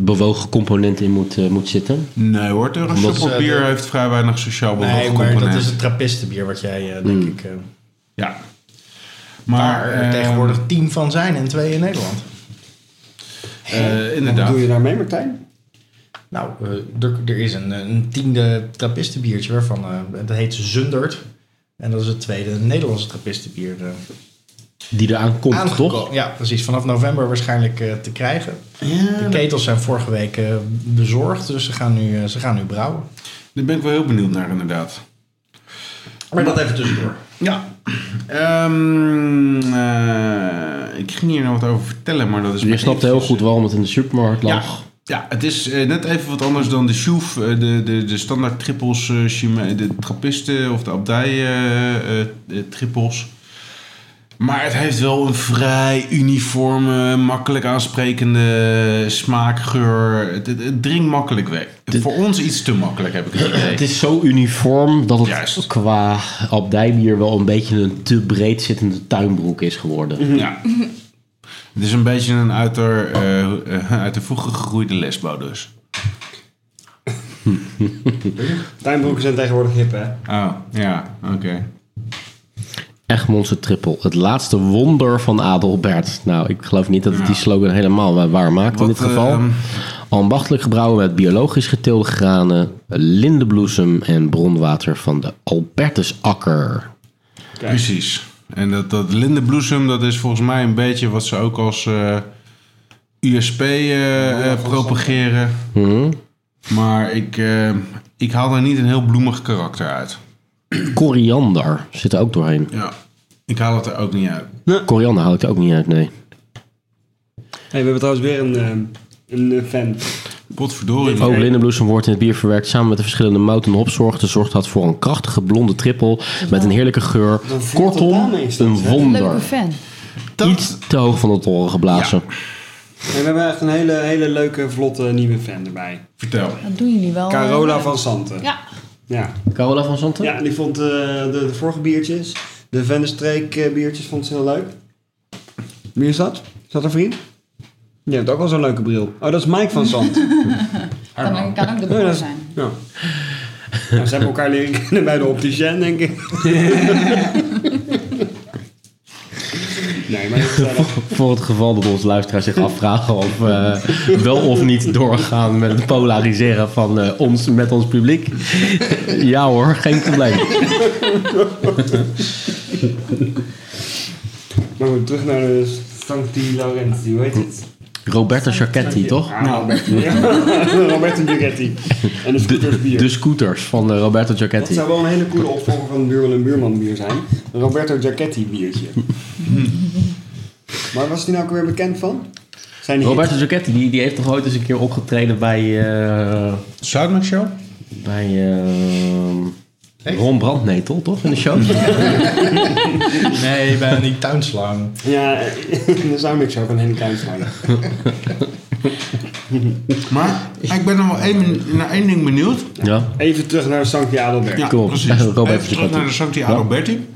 A: bewogen component in moet, eh, moet zitten.
D: Nee hoor,
A: Omdat-
D: Euroshop bier heeft vrij weinig sociaal bewogen
B: eh, Nee, maar
D: component.
B: dat is het trappistenbier wat jij, eh, denk ik, eh,
D: Ja. Maar
B: waar er
D: eh,
B: tegenwoordig tien van zijn en twee in Nederland.
D: eh,
C: Wat
D: inderdaad.
C: doe je daarmee, Martijn?
B: Nou, eh, er, er is een, een tiende trappistenbiertje waarvan eh, dat heet Zundert. En dat is het tweede Nederlandse trappistenbier. eh,
A: Die eraan komt,
B: aangeko-
A: toch?
B: Ja, precies. Vanaf november waarschijnlijk eh, te krijgen. de ketels zijn vorige week eh, bezorgd, dus ze gaan, nu, eh, ze gaan nu brouwen.
D: Daar ben ik wel heel benieuwd naar inderdaad.
B: Maar dat even tussendoor.
D: Ja. Ehm, eh, ik ging hier nog wat over vertellen, maar dat is...
A: Je
D: maar
A: snapt heel
D: eventjes,
A: goed
D: eh,
A: waarom het in de supermarkt lag.
D: Ja, ja het is eh, net even wat anders dan de Sjoef, eh, de, de, de standaard trippels, eh, Chime- de trappisten of de abdij eh, eh, eh, trippels. Maar het heeft wel een vrij uniforme, makkelijk aansprekende smaakgeur. Het, het, het drinkt makkelijk weg. Voor ons iets te makkelijk, heb ik het idee.
A: Het is zo uniform dat het
D: Juist.
A: qua abdijbier wel een beetje een te breed zittende tuinbroek is geworden.
D: Ja. Het is een beetje een uit de, eh, eh, uit de vroege gegroeide lesbo dus.
C: Tuinbroeken zijn tegenwoordig hip, hè?
D: Oh, ja, oké.
A: Egmondse trippel, het laatste wonder van Adelbert. Nou, ik geloof niet dat het die slogan helemaal waar maakt in
D: Wat,
A: dit geval.
D: ehm,
A: Ambachtelijk gebrouwen met biologisch geteelde granen, lindenbloesem en bronwater van de Albertusakker.
D: Precies. En dat, dat lindenbloesem, dat is volgens mij een beetje wat ze ook als eh, USP eh, eh, propageren.
A: Hm?
D: Maar ik, eh, ik haal daar niet een heel bloemig karakter uit.
A: Koriander zit er ook doorheen.
D: Ja. Ik haal het er ook niet uit.
A: Koriander haal ik er ook niet uit, nee.
C: Hey, we hebben trouwens weer een, ehm, een eh, fan.
D: Potverdorie.
A: Ook
D: man.
A: lindenbloesem wordt in het bier verwerkt samen met de verschillende mout en hopzorg. De zorg had voor een krachtige blonde trippel met een heerlijke geur.
C: voelt het
A: Kortom,
C: daarmee
A: een
C: steeds, hè?
A: wonder.
G: Leuke fan.
A: Iets te hoog van de toren geblazen.
C: En we hebben echt een hele, hele leuke, vlotte nieuwe fan erbij.
D: Vertel.
G: Dat doen jullie
D: Oh,
G: wel. eh,
C: Carola van Santen.
G: Ja.
C: Ja,
A: Carola van Zanten?
C: ja die vond eh, de, de vorige biertjes, de Vennestreek eh, biertjes, vond ze heel leuk. Wie is dat? Is dat een vriend? Die heeft ook wel zo'n leuke bril. Oh, dat is Mike van Santen.
G: Kan, kan ook de broer zijn.
C: Ja. Nou, ze hebben elkaar leren kennen bij de opticien, denk ik. nee, maar dat is wel-
A: Voor het geval dat onze luisteraars zich afvragen of we wel of niet doorgaan met het polariseren van eh, ons met ons publiek. ja hoor, geen probleem.
C: Maar goed, terug naar de Sancti Laurenti, hoe heet het?
A: Roberto Sciacchetti, toch?
C: Ah, Roberto. Roberto Giretti. En de scootersbier.
A: De scooters van eh, Roberto
C: Dat
A: Sciacchetti.
C: zou wel een hele coole opvolger van een buurman en buurman bier zijn. Een Roberto Giacchetti biertje. maar was die nou ook weer bekend van? Zijn hit.
A: Roberto Sciacchetti, die, die heeft toch ooit eens een keer opgetreden bij... eh,
D: Zoutmelk Show?
A: Bij ehm, Ron Brandnetel, toch? In de show?
F: Nee, bij die tuinslang.
C: Ja, daar zou ik zo van Henny Kuijns maken.
D: Maar ik ben nog wel één, naar één ding benieuwd.
A: ja.
C: Even terug naar Sancti Adelbert.
D: Ja,
A: Cool.
D: precies.
A: Robert
D: Even
A: Giacotti.
D: terug naar de Santi Alberti.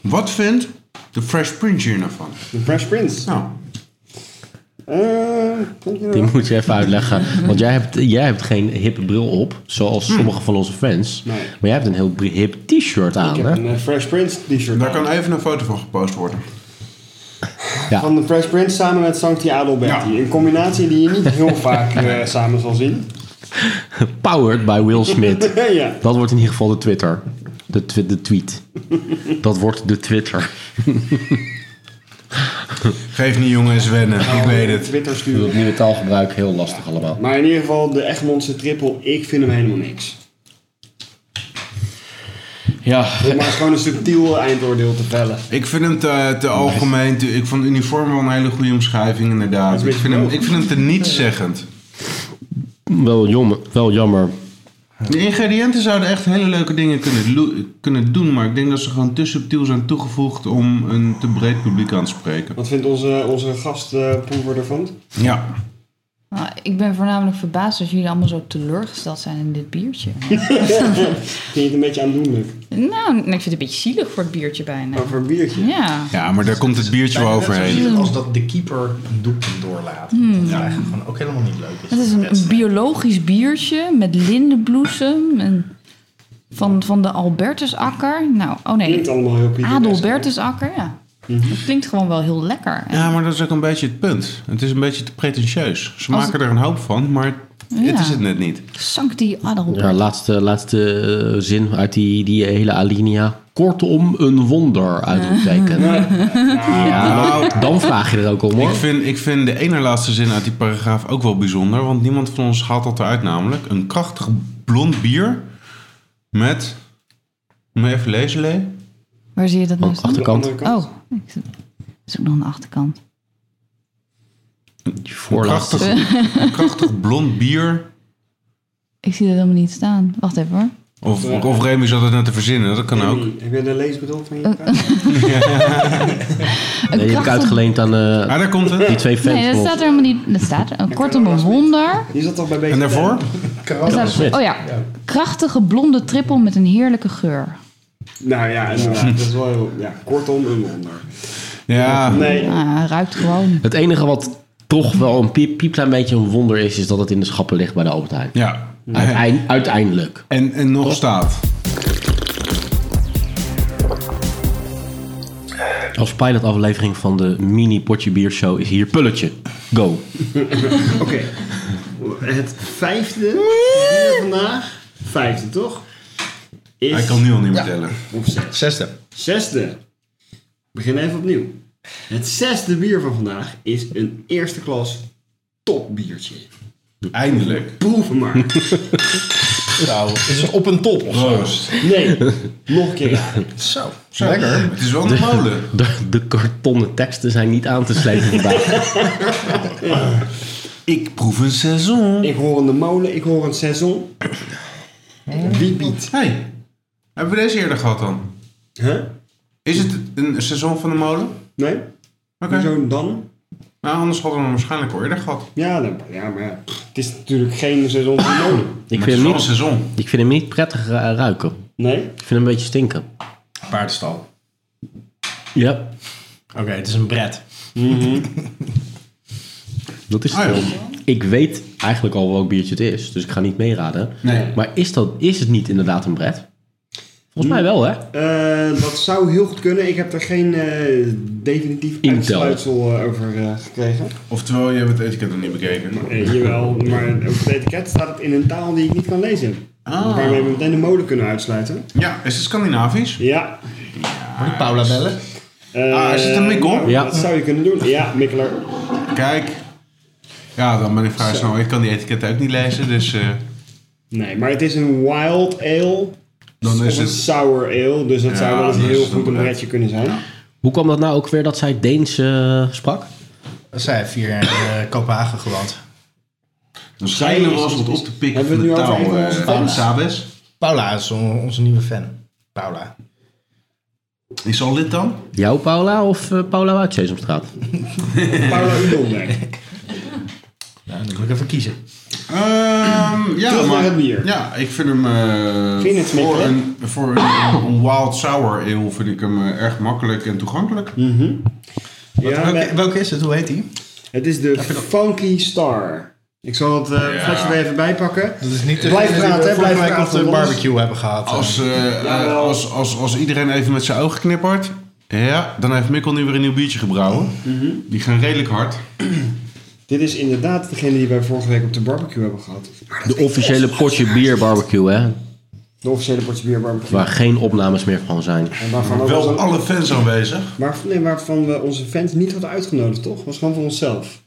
D: Wat vindt de Fresh Prince hier nou van?
C: De Fresh Prince.
D: Nou,
C: Eh, denk je
A: Die
C: wel?
A: moet je even uitleggen. Want jij hebt, jij hebt geen hippe bril op, zoals sommige van onze fans.
C: Hm. Nee.
A: Maar jij hebt een heel bri- hip t-shirt aan,
C: Ik
A: hè?
C: heb een eh, Fresh Prince t-shirt
D: daar kan
C: aan.
D: even een foto van gepost worden.
A: Ja.
C: Van de Fresh Prince samen met Sancti Adelberti. Een combinatie die je niet heel vaak eh, samen zal zien.
A: Powered by Will Smith.
C: ja.
A: Dat wordt in ieder geval de Twitter. De, twi- de tweet. Dat wordt de Twitter.
D: Geef niet jongens wennen, ik weet het.
C: Twitter
A: Dat
C: sturen.
A: nieuwe taalgebruik heel lastig allemaal.
C: Maar in ieder geval, de Egmondse triple, ik vind hem helemaal niks.
A: Ja,
C: Om maar gewoon een subtiel eindoordeel te vellen.
D: Ik vind hem te, te algemeen. te- ik vond uniform wel een hele goede omschrijving,
C: Dat is
D: inderdaad.
C: een
D: Ik
C: beetje
D: vind hem,
C: logisch.
D: ik vind hem te nietszeggend.
A: wel jammer. Wel jammer.
D: De ingrediënten zouden echt hele leuke dingen kunnen, lo- kunnen doen, maar ik denk dat ze gewoon te subtiel zijn toegevoegd om een te breed publiek aan te spreken.
C: Wat vindt onze, onze gastproever ervan?
D: Ja.
G: Nou, ik ben voornamelijk verbaasd dat jullie allemaal zo teleurgesteld zijn in dit biertje.
C: Vind je het een beetje aandoenlijk?
G: nou, ik vind het een beetje zielig voor het biertje bijna.
C: Over een biertje.
G: Ja.
D: Ja, maar daar komt het biertje wel overheen.
F: Als dat de keeper een doekje doorlaat. Dat is eigenlijk gewoon ook helemaal niet leuk.
G: Het is een, een biologisch biertje met lindenbloesem en van, van de Albertusakker. Nou, oh nee,
C: Klinkt allemaal Mm-hmm. heel Pieter
G: Adelbertusakker, ja. Dat klinkt gewoon wel heel lekker.
D: Ja, maar dat is ook een beetje het punt. Het is een beetje te pretentieus. Ze maken er een hoop van, maar dit
G: Ja.
D: is het net niet.
G: Sancti Adelbert.
A: Ja, laatste, laatste eh, zin uit die, die hele alinea. Kortom, een wonder, uitroepteken. Ja, nou, dan vraag je er ook om,
D: Ik
A: hoor.
D: vind, ik vind de ene laatste zin uit die paragraaf ook wel bijzonder, want niemand van ons haalt dat eruit namelijk. Een krachtig blond bier met... Moet je even lezen, Lee?
G: Waar zie je dat nou
A: Aan de
G: staan?
A: achterkant.
G: Oh, ik zo- zoek nog aan de achterkant.
A: Die
D: Een
A: voorlaatste.
D: krachtig, een krachtig blond bier
G: Ik zie dat helemaal niet staan. Wacht even hoor.
D: Of, of Remy zat het net te verzinnen, dat kan ook.
C: Hey, Heb jij de leesbril van
G: Eh,
C: je kamer?
G: Een
A: Nee, je hebt ik
G: krachtig-
A: uitgeleend aan eh,
D: Ah, daar komt
A: die
D: het.
A: twee fans.
G: Nee, dat
A: nog.
G: staat er helemaal niet. Dat staat er. Een kortom, een wonder.
C: Je zat toch bij bezig.
D: En daarvoor?
G: Er staat, oh ja, krachtige blonde trippel met een heerlijke geur.
C: Nou ja, inderdaad. Dat is wel heel... Ja, kortom, een wonder.
D: Ja.
C: Nee.
G: Ah, hij ruikt gewoon.
A: Het enige wat toch wel een piep, piepklein beetje een wonder is, is dat het in de schappen ligt bij de Albert Heijn.
D: Ja.
A: Uiteind- uiteindelijk.
D: En, en nog staat.
A: Als pilotaflevering van de mini potje bier show is hier pulletje. Go.
C: Oké. Het vijfde bier vandaag. Vijfde, toch? Is...
D: Hij kan nu al niet meer tellen.
C: Of zes.
F: Zesde.
C: Zesde. Ik Begin even opnieuw. Het zesde bier van vandaag is een eerste klas topbiertje.
D: Eindelijk.
C: Proef hem maar.
F: Nou, is het op een top of zo?
D: Proost.
C: Nee, nog een keer. raden.
F: Zo. Lekker.
D: Het is wel een molen.
A: De, de kartonnen teksten zijn niet aan te slepen vandaag.
D: Ik proef een seizoen.
C: Ik hoor een molen, ik hoor een seizoen. Wie biedt?
D: Hey, hebben we deze eerder gehad dan?
C: Huh?
D: Is het een seizoen van de molen? Oké.
C: Nee? Hoezo dan?
D: Nou, anders hadden we hem waarschijnlijk al eerder gehad.
C: Ja, dan, ja, maar ja, het is natuurlijk geen seizoen van
A: Ik
C: molen.
D: Maar het
A: vind,
D: is
A: hem
D: wel een
A: niet,
D: seizoen.
A: ik vind hem niet prettig eh, ruiken.
C: Nee?
A: Ik vind hem een beetje stinken.
F: Paardenstal.
A: Ja,
F: Oké, het is een bret.
A: Mhm. dat is het
D: Ah, ja.
A: wel. Ik weet eigenlijk al welk biertje het is, dus ik ga niet meeraden.
D: Nee.
A: Maar is, dat, is het niet inderdaad een bret? Volgens
F: Mm.
A: mij wel, hè?
C: Eh, dat zou heel goed kunnen. Ik heb er geen eh, definitief
A: Intel.
C: uitsluitsel eh, over eh, gekregen.
D: Oftewel, je hebt het etiket nog niet bekeken.
C: Eh, jawel, maar op het etiket staat het in een taal die ik niet kan lezen.
D: Ah.
C: Waarmee we meteen de molen kunnen uitsluiten.
D: Ja, is het Scandinavisch?
C: Ja.
F: Moet ik Paula bellen?
C: Eh,
D: Ah, is het een mikkel?
C: nou,
A: Ja.
C: Dat zou je kunnen doen. Ja, mikkeler.
D: Kijk. Ja, dan ben ik vrij snel. Ik kan die etiket ook niet lezen, dus... eh,
C: Nee, maar het is een wild ale.
D: dan
C: of
D: is
C: een
D: het...
C: sour ale. Dus dat
D: Ja,
C: zou wel eens
D: dat
C: heel
D: is
C: goed een
D: een-
C: redje kunnen zijn.
A: Hoe kwam dat nou ook weer dat zij Deens eh, sprak?
F: Zij heeft vier jaar in eh, Kopenhagen gewoond.
D: Dan schijnen we ons wat op te pikken
C: Hebben
D: van
C: we
D: de
C: het nu over
D: taal
C: een van onze
D: eh, van
C: fans?
D: Sabes.
F: Paula is on- onze nieuwe fan. Paula.
D: Is al lid dan?
A: Jou, Paula, of eh, Paula uit Sesamstraat?
C: Paula Udonberg.
F: Nou, dan moet ik even kiezen.
D: Ehm ja,
C: Terug
D: maar,
C: naar het bier.
D: Ja, ik vind hem eh,
C: Vind je het
D: voor,
C: smakelijk?
D: een, voor een, een wild sour ale vind ik hem eh, erg makkelijk en toegankelijk.
C: Ja,
F: Welke,
C: nee,
F: welke is het? Hoe heet die?
C: het is de Funky Star. Ik zal het eh
D: Ja.
C: flesje er even bij pakken.
F: Dat is niet de
C: Blijf
F: die we
C: praten, hè,
F: vorige
C: blijf
F: week op
C: praten,
F: de
C: jongens.
F: barbecue hebben gehad.
D: Als, eh,
C: Ja,
D: eh,
C: wel.
D: als, als, als iedereen even met zijn ogen knippert, ja, dan heeft Mikkel nu weer een nieuw biertje gebrouwen.
C: Mhm.
D: Die gaan redelijk hard.
C: Dit is inderdaad degene die wij vorige week op de barbecue hebben gehad.
A: De officiële potje bier barbecue, hè?
C: De officiële potje bier barbecue.
A: Waar geen opnames meer van zijn.
C: En waarvan, ook
D: Wel
C: onze-
D: alle fans aanwezig.
C: waar, nee, waarvan we onze fans niet hadden uitgenodigd, toch? was gewoon voor onszelf.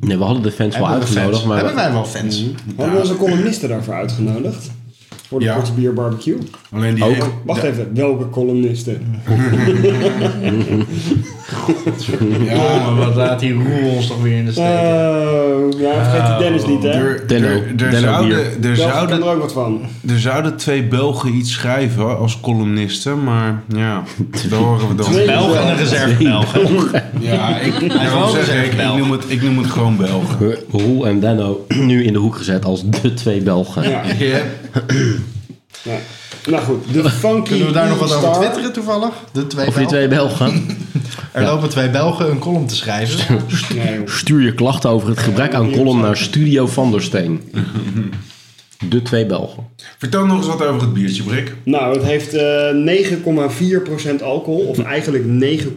A: Nee, we hadden de fans wel
F: Hebben we
A: uitgenodigd,
F: fans? Hebben
A: maar Mm.
F: wij wel fans?
C: Hadden we onze columnisten daarvoor uitgenodigd? Voor de
D: Ja.
C: potje bier barbecue? Oh,
D: Alleen die
A: Ook.
C: Wacht even, welke columnisten?
F: Ja, maar Eh, wat laat die roer ons toch weer in de steek.
C: Oh, ja, vergeet die Dennis niet,
F: Oh,
C: hè?
D: Er,
A: Denno.
D: er, er,
A: Denno
D: zouden,
A: bier.
C: Belgen
D: er,
C: kan er
D: zouden,
C: ook wat van.
D: er zouden twee Belgen iets schrijven als columnisten, maar ja, daar horen we dan.
F: Belg en een reserve Belg.
D: Ja, ik, ik,
F: is
D: wou
F: wel
D: zeggen, ik,
F: gezegd
D: ik
F: Belg.
D: noem het, ik noem het gewoon Belgen.
A: we- Roel en Denno nu in de hoek gezet als de twee Belgen.
C: Ja.
D: Ja.
C: Ja. Nou goed, de funky
F: Kunnen we daar nog wat over
C: star.
F: twitteren toevallig? De twee
A: Of
F: Belgen.
A: die twee Belgen.
F: Er lopen twee Belgen een column te schrijven.
C: Nee, joh.
A: Stuur je klachten over het gebrek aan column naar Studio van der Steen. De twee Belgen.
D: Vertel nog eens wat over het biertje, Brik.
C: Nou, het heeft eh 9,4% alcohol. Of eigenlijk 9,39%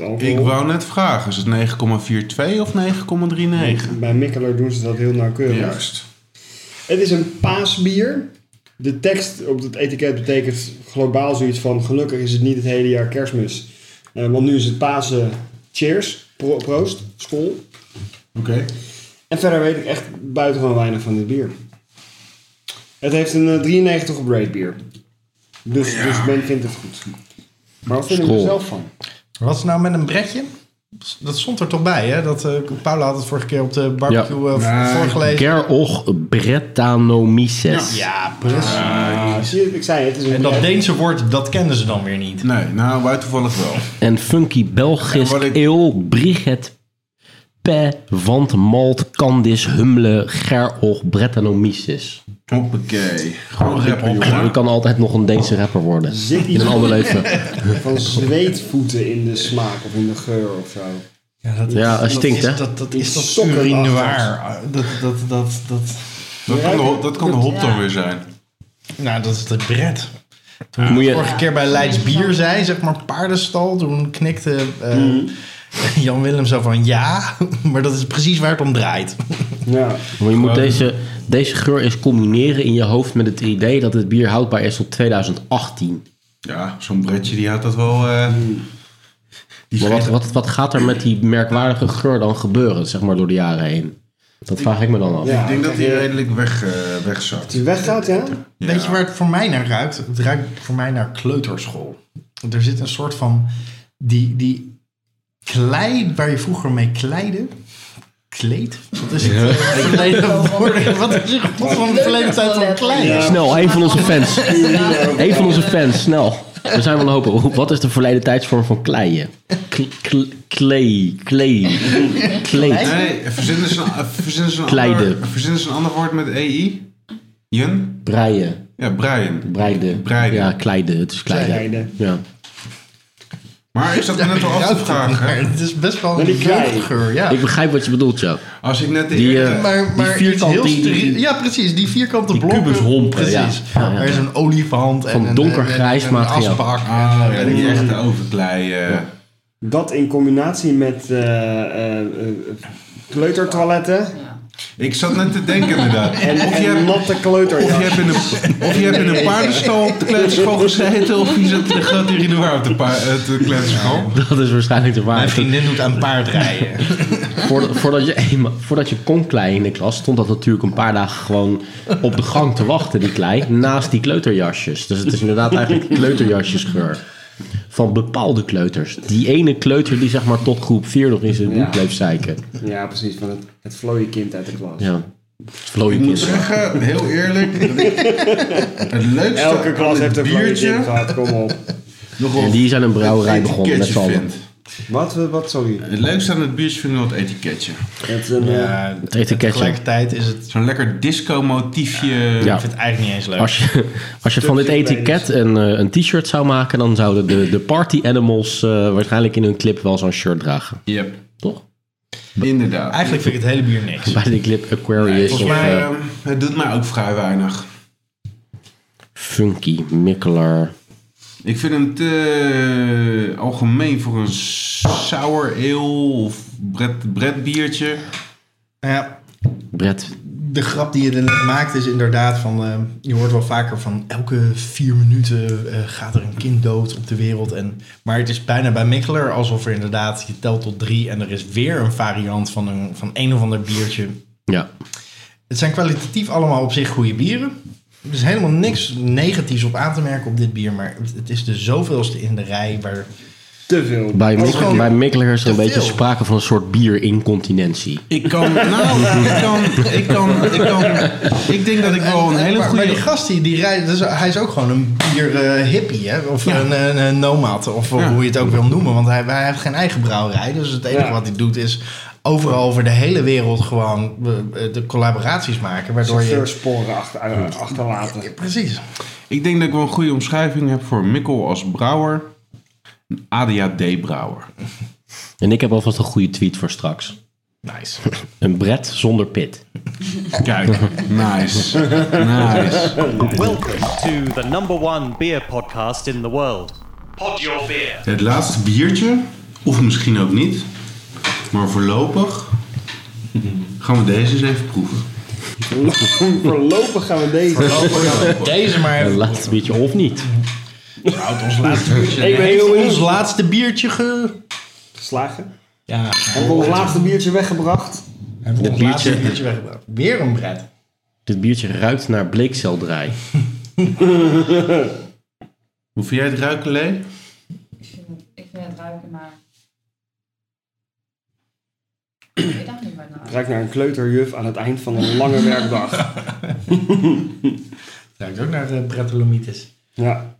C: alcohol.
D: Ik wou net vragen, is het 9,42 of 9,39?
C: Bij Mikkeler doen ze dat heel nauwkeurig.
D: Juist.
C: Het is een paasbier. De tekst op het etiket betekent globaal zoiets van... Gelukkig is het niet het hele jaar kerstmis. Eh, want nu is het Pasen. Cheers. Pro- proost. School.
D: Oké.
C: En verder weet ik echt buitengewoon weinig van dit bier. Het heeft een eh, 93 op rate bier. Dus, dus men vindt het goed. Maar wat vind ik er
A: School.
C: zelf van?
F: Wat is nou met een bretje?
B: Dat stond er toch bij, hè? Dat, eh, Paula had het vorige keer op de barbecue eh, voorgelezen.
A: Gerolch Brettanomyces.
B: Ja, precies.
C: Ah, Zie je, ik zei het, het is een
B: En dat Deense woord, dat kenden ze dan weer niet.
D: Nee, nou, wij toevallig wel.
A: En funky Belgisch
D: En wat ik-
A: eel Brigitte Pe Want Malt Candis Humle Gerolch Brettanomyces.
D: Hoppakee. Gewoon rappen,
A: Je
D: jongen.
A: kan altijd nog een Deense rapper worden.
C: Zit
A: In
C: iets
A: een ander leven.
C: van zweetvoeten in de smaak of in de geur of zo.
B: Ja, dat,
A: Ja, het stinkt,
B: is,
A: hè?
B: Dat, dat is dat
C: Sokken
B: urinoir. Dat, dat, dat, dat,
D: Dat kan de, hop- dat kan de hop dan weer zijn.
B: nou, dat is de bret. Toen ik
A: Moet je-
B: vorige keer bij Leids Bier zei, zeg maar paardenstal, toen knikte eh, Jan Willem zo van ja, maar dat is precies waar het om draait.
C: Ja.
A: Maar je moet deze, deze geur eens combineren in je hoofd met het idee dat het bier houdbaar is tot 2018.
D: Ja, zo'n bretje die had dat wel... eh, die
A: Maar wat,
D: vreet-
A: wat, wat gaat er met die merkwaardige geur dan gebeuren, zeg maar, door de jaren heen? Dat vraag ik me dan af.
C: Ja.
D: Ik denk dat die redelijk weg, eh, wegzakt.
C: Als die weggaat, ja?
D: Ja.
B: Weet je waar het voor mij naar ruikt? Het ruikt voor mij naar kleuterschool. Want Er zit een soort van die, die klei waar je vroeger mee kleidde. Kleed? Wat is het? eh, verleden woord? Wat is het god van de verleden tijd van klei?
A: Snel, een van onze fans. Een van onze fans, snel. We zijn wel hopen. Wat is de verleden tijdsvorm van kleien? K- k- Klei, klei, kleed.
D: Nee, verzinnen ze een, verzinnen ze een, ander,
A: Kleiden.
D: verzinnen ze een ander woord met EI? Jun?
A: Breien,
D: Ja, Brian.
A: breiden.
D: Breiden.
A: Ja, kleiden, het is kleiden.
C: Kleiden.
A: Ja.
D: Maar ik zat me net al af te vragen.
B: Maar het is best wel
C: Maar
B: een
C: die klei.
B: jeugdgeur, ja.
A: Ik begrijp wat je bedoelt, Jo.
D: Als ik net de
A: Die,
D: eerste...
A: eh,
B: maar, maar
A: die vierkant,
B: iets
A: die-
B: heel
A: die-
B: steriel- Ja, precies. Die vierkante
A: die
B: blokken.
A: kubusrompen, ja.
B: Precies.
A: Ja, ja.
B: Er is een olifant. en
A: Van
B: een-
A: donkergrijs
B: en een
A: materiaal.
B: asbak.
D: Ah, ja, die echte overklei. eh.
C: Dat in combinatie met eh, eh, eh, kleutertoiletten
D: Ik zat net te denken inderdaad.
C: en,
D: Of je
C: en
D: hebt...
C: natte
D: Of je,
C: kleuterjas.
D: hebt in een, of je hebt in een paardenstal op de kleuterschool gezeten... of je zat in de grote urinoir op de, pa- eh, de kleuterschool.
A: Dat is waarschijnlijk de
B: Mijn
A: waarheid.
B: vriendin doet aan paardrijden.
A: Voordat, voordat, je, eenmaal- voordat je kon klei in de klas, stond dat natuurlijk een paar dagen gewoon op de gang te wachten, die klei, naast die kleuterjasjes. Dus het is inderdaad eigenlijk kleuterjasjesgeur. Van bepaalde kleuters. Die ene kleuter die zeg maar tot groep 4 nog in zijn
C: Ja.
A: boek bleef zeiken.
C: Ja, precies, van het, het vlooie kind uit de klas.
A: Ja. Vlooie
D: Ik moet
A: kind.
D: zeggen, heel eerlijk... dat ik Het leukste
C: Elke
D: aan
C: klas
D: het
C: heeft een vlooie kind
D: biertje...
C: gehad, kom op.
D: nogal
A: En die zijn een brouwerij
D: het
A: begonnen met z'n
D: etiketje
A: allen.
D: vindt.
C: Wat, wat, sorry?
D: Het leukste aan het biertje vinden we het etiketje.
C: Het is een, eh,
B: Ja,
A: etiketje.
B: tegelijkertijd is het...
D: Zo'n lekker disco-motiefje.
A: Ja.
B: Ik vind het eigenlijk niet eens leuk.
A: Als je, als je van dit etiket een, eh, een t-shirt zou maken, dan zouden de, de party animals eh, waarschijnlijk in hun clip wel zo'n shirt dragen.
D: Yep.
A: Toch?
D: Inderdaad.
B: Eigenlijk vind ik het hele bier niks.
A: Bij de clip Aquarius of
D: Volgens mij,
A: eh,
D: ehm, het doet mij ook vrij weinig.
A: Funky, Mikkeler.
D: Ik vind hem te eh, algemeen voor een sour ale of bret, biertje.
B: Nou Ja,
A: Brett.
B: de grap die je er net maakt is inderdaad van... eh, je hoort wel vaker van elke vier minuten eh, gaat er een kind dood op de wereld. En, maar het is bijna bij Mikkeler alsof er inderdaad... Je telt tot drie en er is weer een variant van een, van een of ander biertje.
A: Ja.
B: Het zijn kwalitatief allemaal op zich goede bieren. Er is helemaal niks negatiefs op aan te merken op dit bier. Maar het, het is de zoveelste in de rij waar...
C: te veel.
A: Bij,
C: Ook
A: Mik
C: gewoon-
A: bij Mikkeler is er een
B: te
A: beetje
B: veel.
A: sprake van een soort bierincontinentie.
D: Ik kan, nou, ik kan, ik kan, ik kan, ik denk dat ik wel een hele
B: maar, maar die
D: goede...
B: gast, die, die rijdt, dus hij is ook gewoon een bier-hippie, hè? Of een, een, een nomad, of
D: Ja.
B: hoe je het ook wil noemen. Want hij, hij heeft geen eigen brouwerij. Dus het enige
C: Ja.
B: wat hij doet is overal over de hele wereld gewoon eh, eh, de collaboraties maken. Waardoor je...
C: chauffeursporen achter, eh, achterlaten.
B: Precies.
D: Ik denk dat ik wel een goede omschrijving heb voor Mikkel als brouwer. Een ADHD-brouwer.
A: En ik heb alvast een goede tweet voor straks.
B: Nice.
A: Een Brett zonder pit.
D: Kijk, nice. Nice.
E: Welcome to the number one beer podcast in the world. Pod your beer.
D: Het laatste biertje, of misschien ook niet, maar voorlopig gaan we deze eens even proeven.
C: Voorlopig gaan we deze.
B: Deze maar
A: Een
B: even.
A: laatste beetje of niet.
B: Houdt ons laatste biertje.
C: Ik ben
B: Heeft
C: heel
B: ons
C: benieuwd.
B: laatste biertje ge...
C: Slagen.
B: Ja,
C: Hebben we ons laatste biertje weggebracht?
B: hebben we ons
A: biertje.
B: laatste biertje weggebracht. Weer een bret.
A: Dit biertje ruikt naar bleekselderij.
D: Hoe vind jij het ruiken, Lee?
G: Ik vind het ruiken, maar nou
C: Het ruikt naar een kleuterjuf aan het eind van een lange werkdag.
B: Het ruikt ook naar uh, Bretolomitis.
C: Ja.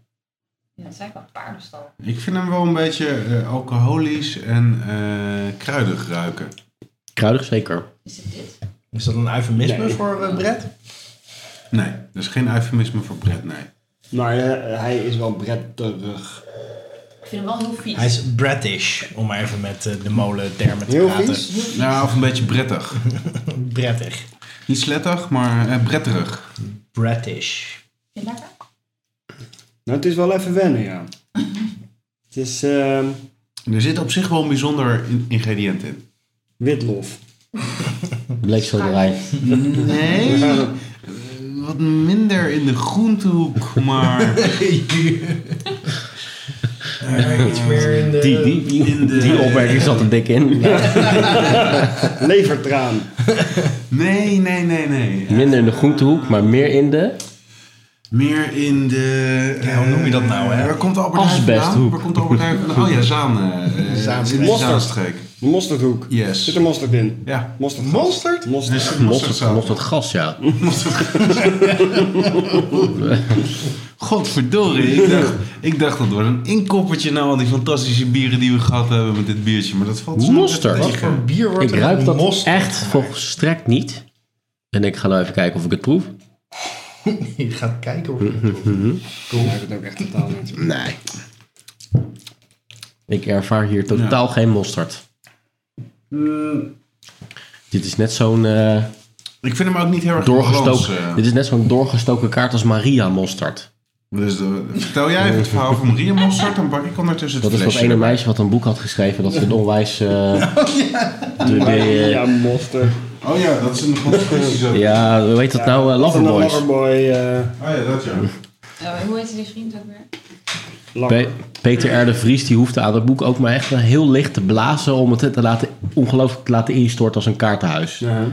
G: Ja, het zijn wel paardenstal.
D: Ik vind hem wel een beetje eh, alcoholisch en eh, kruidig ruiken.
A: Kruidig zeker.
G: Is het dit?
B: Is dat een eufemisme
C: Nee.
B: voor eh, Brett?
D: Nee, dat is geen eufemisme voor Brett, nee.
C: Maar eh, hij is wel eh, bretterig.
G: Ik vind hem wel heel vies.
B: Hij is British, om maar even met eh, de molen termen te
C: Heel
B: praten.
C: vies.
D: Nou, of een beetje brettig.
B: Brettig.
D: Niet slettig, maar eh, bretterig.
B: British.
G: Vind je het lekker?
C: Nou, het is wel even wennen, ja. Het is ehm,
D: Er zit op zich wel een bijzonder in- ingrediënt in.
C: witlof.
A: Bleekselderij.
D: Nee, eh, wat minder in de groentehoek, maar
B: iets meer in de...
A: Die, die,
D: in de...
A: die opmerking zat er dik in.
C: Levertraan.
D: Nee, nee, nee, nee. Eh,
A: Minder in de groentehoek, maar meer in de...
D: Meer in de... eh,
B: Ja, hoe noem je dat nou, hè?
D: Waar komt de Albert Heijn
A: Asbesthoek.
D: vandaan? Waar komt de Albert Heijn vandaan? Oh ja, Zaan. eh, eh,
B: Zaan.
D: zit in de
C: Mosterd.
D: Zaanstreek.
C: Mosterdhoek.
D: Yes.
C: Zit er mosterd in?
D: Ja.
C: Mosterd.
B: Monsterd?
C: Mosterd.
D: Dus
A: Lost
D: mosterdzaad.
A: het, lost het gas, ja.
D: Godverdorie, ik dacht, ik dacht dat wordt een inkoppertje naar al die fantastische bieren die we gehad hebben met dit biertje. Maar dat valt zo
A: Mosterd.
D: net
B: Wat
D: tegen.
B: voor bier wordt
A: Ik
B: er
A: ruik
B: met
A: dat
B: mosterd?
A: echt volstrekt niet. En ik ga nou even kijken of ik het proef.
B: Je gaat kijken of...
C: Cool. Ik het ook echt totaal niet.
A: Nee. Ik ervaar hier totaal geen mosterd.
D: Eh.
A: Dit is net zo'n eh,
D: Ik vind hem ook niet heel erg glans,
A: doorgestoken.
D: eh.
A: Dit is net zo'n doorgestoken kaart als Maria mosterd.
D: Dus eh, vertel jij even het verhaal van Maria Mostert, dan pak ik ondertussen het
A: Dat is dat
D: flesje.
A: ene meisje wat een boek had geschreven dat ze een onwijs. eh, de- de-
C: Ja, mosterd.
D: Oh ja, dat is een conspiratie zo.
A: ja, hoe heet dat nou? eh, Loverboys.
C: Loverboy. eh,
D: Oh ja, dat ja.
G: Eh, hoe heet die vriend ook weer?
C: lang.
A: Pe- Peter R. de Vries die hoefde aan dat boek ook maar echt heel licht te blazen om het te laten, ongelooflijk te laten instorten als een kaartenhuis.
C: Ja.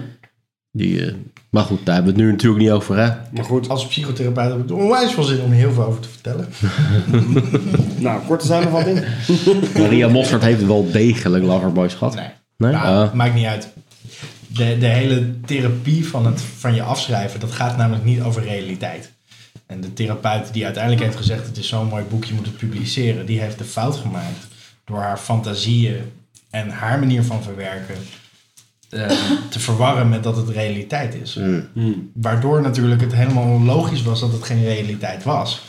A: Die, eh, maar goed, daar hebben we het nu natuurlijk niet over, hè?
C: Maar goed.
B: Als psychotherapeut heb ik er onwijs veel zin om heel veel over te vertellen.
C: Nou, korte samenvatting.
A: Maria Mostert heeft wel degelijk Loverboys gehad.
B: Nee.
A: Nee?
B: Maar,
A: Ah.
B: Maakt niet uit. De, de hele therapie van, het, van je afschrijven, dat gaat namelijk niet over realiteit. En de therapeut die uiteindelijk heeft gezegd, het is zo'n mooi boek, je moet het publiceren, die heeft de fout gemaakt door haar fantasieën en haar manier van verwerken eh, te verwarren met dat het realiteit is. Waardoor natuurlijk het helemaal onlogisch was dat het geen realiteit was.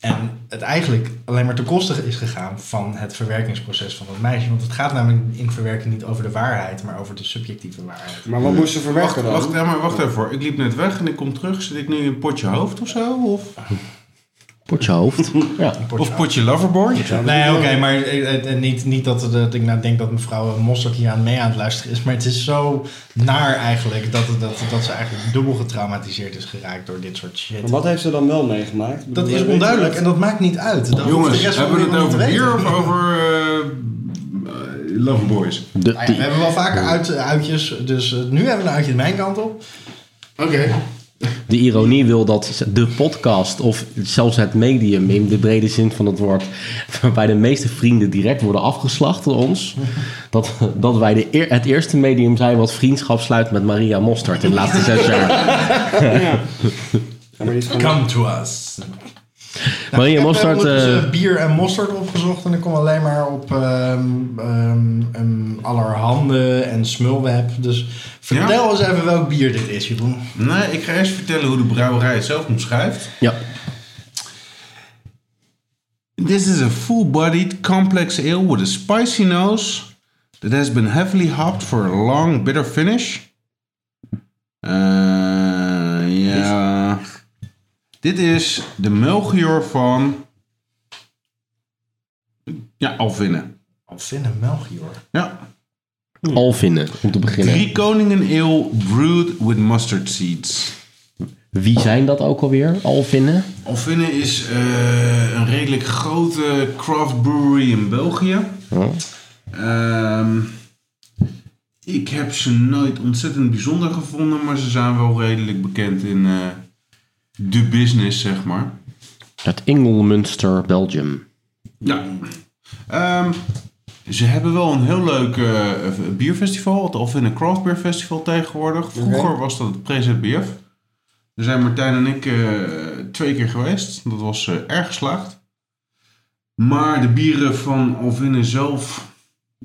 B: En het eigenlijk alleen maar ten koste is gegaan van het verwerkingsproces van dat meisje. Want het gaat namelijk in verwerking niet over de waarheid, maar over de subjectieve waarheid.
C: Maar wat moest ze
D: Wacht,
C: verwerken dan?
D: wacht, ja, maar wacht even hoor. Ik liep net weg en ik kom terug. Zit ik nu in potje hoofd of zo? Of,
A: Potje hoofd. ja.
D: of potje loverboy?
B: Nee, oké, maar eh, eh, eh, niet, niet dat, dat ik nou denk dat mevrouw Mostert hier aan mee aan het luisteren is. Maar het is zo naar eigenlijk dat, dat, dat ze eigenlijk dubbel getraumatiseerd is geraakt door dit soort shit.
C: Maar wat heeft ze dan wel meegemaakt? Ik
B: Dat
C: bedoel,
B: is
C: weet je
B: onduidelijk
C: dat?
B: en dat maakt niet uit. Dat hoeft de
D: Jongens,
B: rest van
D: hebben we het
B: Nederland niet te
D: over bier
B: weten.
D: of over eh, eh, loverboys?
A: De,
B: Nou ja, we
A: die-
B: hebben wel vaker uit, uitjes, dus eh, nu hebben we een uitje mijn kant op.
D: Oké.
A: de ironie wil dat de podcast of zelfs het medium in de brede zin van het woord, waarbij de meeste vrienden direct worden afgeslacht door ons, dat, dat wij de, eer- het eerste medium zijn wat vriendschap sluit met Maria Mostert in de laatste zes jaar.
C: Ja, maar die is gewoon-
B: Come to us.
A: Maria Mostert,
B: Ik heb
A: eh,
B: ondertussen bier en mosterd opgezocht en ik kom alleen maar op ehm, ehm, ehm, allerhande en smulweb. Dus vertel eens even welk bier dit is, Jeroen.
D: Nee, ik ga eerst vertellen hoe de brouwerij het zelf omschrijft.
A: ja,
D: This is a full-bodied, complex ale with a spicy nose that has been heavily hopped for a long, bitter finish. Eh, ja. Dit is de Melchior van. Ja, Alvinnen.
B: Alvin en Melchior.
D: Ja.
A: al vinden om te beginnen.
D: Drie Koningen Ale brewed with mustard seeds.
A: Wie zijn dat ook alweer? Al vinden?
D: Alvinnen is eh, een redelijk grote craft brewery in België. Ehm, ik heb ze nooit ontzettend bijzonder gevonden, maar ze zijn wel redelijk bekend in eh, de business, zeg maar.
A: Uit Ingelmunster, Belgium.
D: Ja. Ehm, Ze hebben wel een heel leuk eh, bierfestival, of in een craft beer festival tegenwoordig. Vroeger was dat het Prezet Beer. Daar zijn Martijn en ik eh, twee keer geweest. Dat was eh, erg geslaagd. Maar de bieren van Alvinne zelf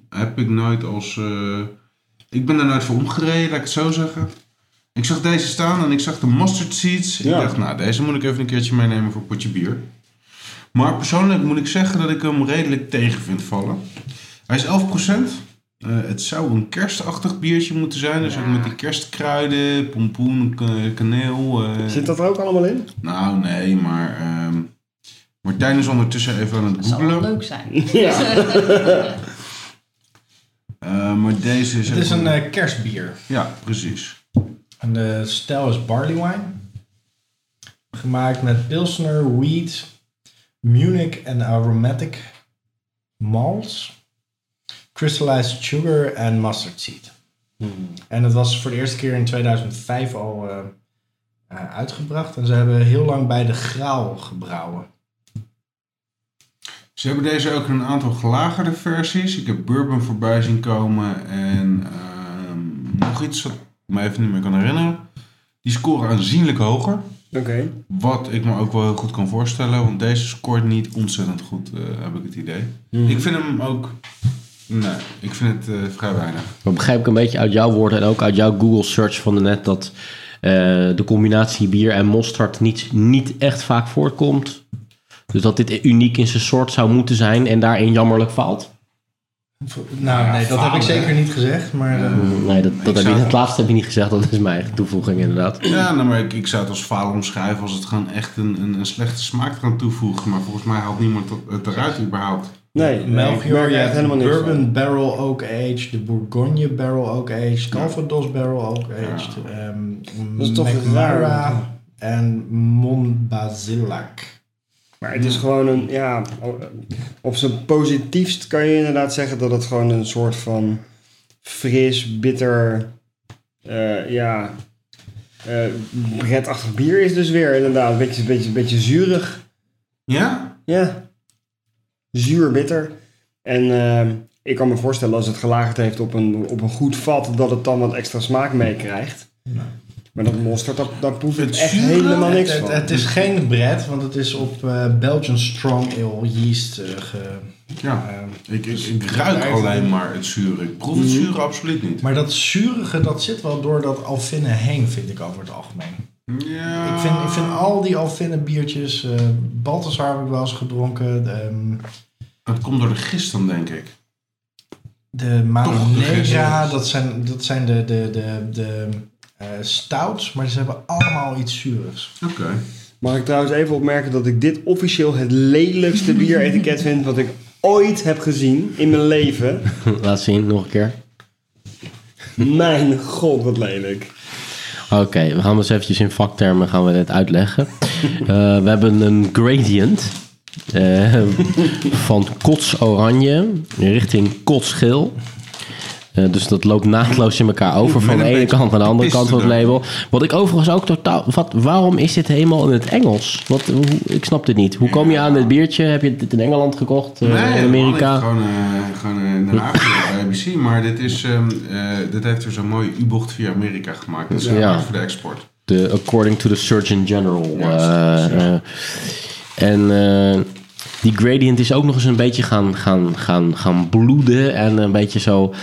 D: heb ik nooit als... eh, ik ben er nooit voor omgereden, laat ik het zo zeggen. Ik zag deze staan en ik zag de mustard seeds.
C: Ja.
D: Ik dacht, nou, deze moet ik even een keertje meenemen voor een potje bier. Maar persoonlijk moet ik zeggen dat ik hem redelijk tegen vind vallen. Hij is 11%. Eh, het zou een kerstachtig biertje moeten zijn. Dus ook met die kerstkruiden, pompoen, k- kaneel. eh,
C: Zit dat er ook allemaal in?
D: Nou, nee, maar... ehm Martijn is ondertussen even aan het
G: Dat zal wel
D: googelen.
G: Oh, leuk zijn.
C: Ja.
D: Eh, maar deze is...
B: Het is
D: even-
B: een eh, kerstbier.
D: Ja, precies.
B: En de stijl is barley wine. Gemaakt met Pilsner, Wheat, Munich en aromatic malts. Crystallized sugar en mustard seed. En dat was voor de eerste keer in 2005 al eh, eh, uitgebracht. En ze hebben heel lang bij de Graal gebrouwen.
D: Ze hebben deze ook in een aantal gelagerde versies. Ik heb bourbon voorbij zien komen en ehm, nog iets wat ik me even niet meer kan herinneren. Die scoren aanzienlijk hoger.
C: Oké.
D: Wat ik me ook wel heel goed kan voorstellen, want deze scoort niet ontzettend goed, eh, heb ik het idee.
B: Hmm.
D: Ik vind hem ook. Nee, ik vind het eh, vrij weinig.
A: Maar begrijp ik een beetje uit jouw woorden en ook uit jouw Google search van de net dat eh, de combinatie bier en mosterd niet, niet echt vaak voorkomt. Dus dat dit uniek in zijn soort zou moeten zijn en daarin jammerlijk faalt.
B: Nou, nee, dat heb ik
D: falen,
B: zeker niet gezegd. Maar eh,
D: Hmm.
A: Nee, dat, dat heb
D: zou-
A: je, het laatste heb je niet gezegd, dat is mijn eigen toevoeging inderdaad.
D: Ja, nou, maar ik, ik zou het als falen omschrijven als het gewoon echt een, een, een slechte smaak eraan toevoegen. Maar volgens mij haalt niemand het- het eruit überhaupt.
C: Nee, nee, ik
B: Melchior,
C: merk
B: je
C: er echt
B: hebt
C: helemaal niks
B: Bourbon
C: van.
B: Barrel Oak Aged, de Bourgogne Barrel Oak Aged, Calvados Barrel Oak Aged, ehm
C: Dat is toch
B: McNamara
C: raar. eh,
B: en Monbazillac.
C: Maar het is gewoon een, ja, op zijn positiefst kan je inderdaad zeggen dat het gewoon een soort van fris, bitter, eh, ja, eh bretachtig bier is dus weer inderdaad. Een beetje, beetje, beetje zuurig,
D: Ja?
C: ja. Zuur, bitter. En ehm, ik kan me voorstellen als het gelagerd heeft op een, op een goed vat, dat het dan wat extra smaak meekrijgt. Maar dat monster, dat, daar proef ik
D: Het
C: echt
D: zure,
C: helemaal
B: Het,
C: niks
B: het,
C: van.
B: het is geen bret, want het is op eh, Belgian Strong Ale yeast eh, ge-
D: Ja.
B: ehm,
D: Ik, ik, ik ruik
B: Daar-
D: alleen maar het zure. Ik proef het
B: Hmm.
D: zure absoluut niet.
B: maar dat zurige, dat zit wel door dat Alfinne heen, vind ik over het algemeen.
D: Ja.
B: Ik vind, ik vind al die Alfinne biertjes, eh Balthasar heb ik wel eens gedronken, de, ehm,
D: Het komt door de gist dan, denk ik.
B: De
D: Toch de
B: Manegra,
D: gisteren.
B: dat zijn, dat zijn de, de, de, de eh, stouts, maar ze hebben allemaal iets zuurigs.
D: Oké.
C: Mag ik trouwens even opmerken dat ik dit officieel het lelijkste bieretiket vind wat ik ooit heb gezien in mijn leven.
A: Laat zien, nog een keer.
C: Mijn god, wat lelijk.
A: Oké, we gaan dus eventjes in vaktermen gaan we dit uitleggen. Eh, we hebben een gradient eh, van kots-oranje richting kotsgeel. Eh, dus dat loopt naadloos in elkaar over van de
D: een
A: ene
D: beetje
A: kant naar de andere kant van het
D: piste
A: label. Wat ik overigens ook totaal... Wat, waarom is dit helemaal in het Engels? Wat, hoe, ik snap dit niet. Hoe kom je aan dit biertje? Heb je dit in Engeland gekocht? eh, in Amerika?
D: helemaal niet. Gewoon, eh gewoon eh, in Den Haag bij ABC. Maar dit, is, ehm, eh, dit heeft er zo'n mooie U-bocht via Amerika gemaakt. Dat is
A: Ja.
D: ja. voor de export.
A: De According to the Surgeon General.
D: Juist,
A: eh, eh, en eh, die gradient is ook nog eens een beetje gaan, gaan, gaan, gaan bloeden. En een beetje zo.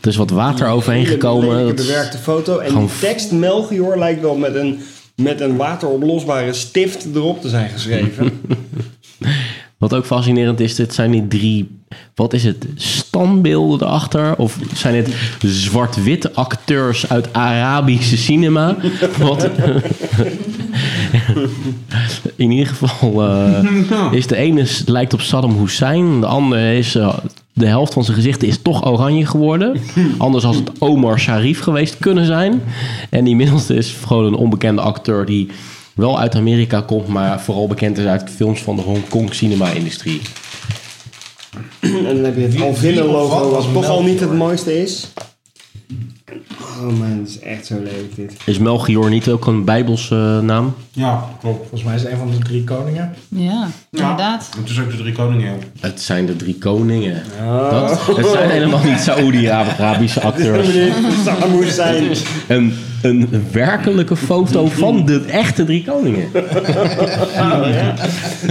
A: Er is wat water overheen gekomen.
C: Lelijke
A: Dat is-
C: bewerkte foto. En
A: gewoon
C: die tekst Melchior lijkt wel met een, met een wateroplosbare stift erop te zijn geschreven.
A: wat ook fascinerend is, dit zijn die drie. Wat is het? Standbeelden erachter? Of zijn het zwart-wit acteurs uit Arabische cinema? Wat. In ieder geval. eh,
D: Ja.
A: Is de ene s- lijkt op Saddam Hussein, de andere is eh, de helft van zijn gezicht is toch oranje geworden. Anders als het Omar Sharif geweest kunnen zijn. En die middelste is gewoon een onbekende acteur die wel uit Amerika komt, maar vooral bekend is uit films van de Hongkong cinema-industrie.
C: en dan heb je het
B: Wie-
C: Alvinne
B: wie of
C: logo
B: wat
C: wat
B: was
C: toch al niet het
B: Melchior?
C: mooiste is. Oh man, het is echt zo lelijk dit.
A: Is Melchior niet ook een bijbelse eh, naam?
D: Ja, klopt.
B: Volgens mij is het een van de drie koningen.
G: Ja, inderdaad.
D: Het is ook de drie koningen.
A: Het zijn de drie koningen. Dat, het zijn helemaal niet Saoedi-Arabische acteurs.
C: Dat moet zijn.
A: Een, een werkelijke foto van de echte drie koningen.
B: Oh,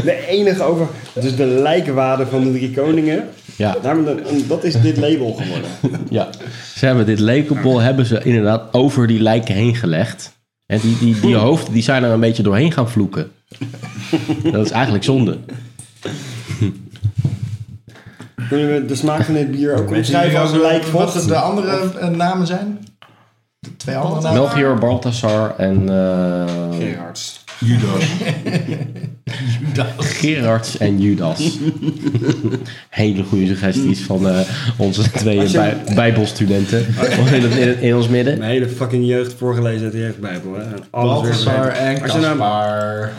C: De enige over... Dus de lijkwade van de drie koningen.
A: Ja,
C: Daar moet een- Dat is dit label geworden.
A: ja. Ze hebben dit lekenbol hebben ze inderdaad over die lijken heen gelegd. En die, die, die hoofden die zijn er een beetje doorheen gaan vloeken. Dat is eigenlijk zonde.
C: Kunnen we de smaak van dit bier
B: Weet
C: ook
B: jij
C: omschrijven als
B: wat
C: lijkvocht?
B: de andere eh, namen zijn? De twee andere namen?
A: Melchior, Balthasar en eh
C: Gerards.
D: Judas.
A: Gerards en Judas. Hele goede suggesties van eh, onze twee
C: Als je-
A: bij- bijbelstudenten in, in, in ons midden.
C: Mijn hele fucking jeugd voorgelezen uit de jeugdbijbel. Hè? En alles weer
B: Balthasar
C: vergeten.
B: en
C: Als je nou-
B: Caspar.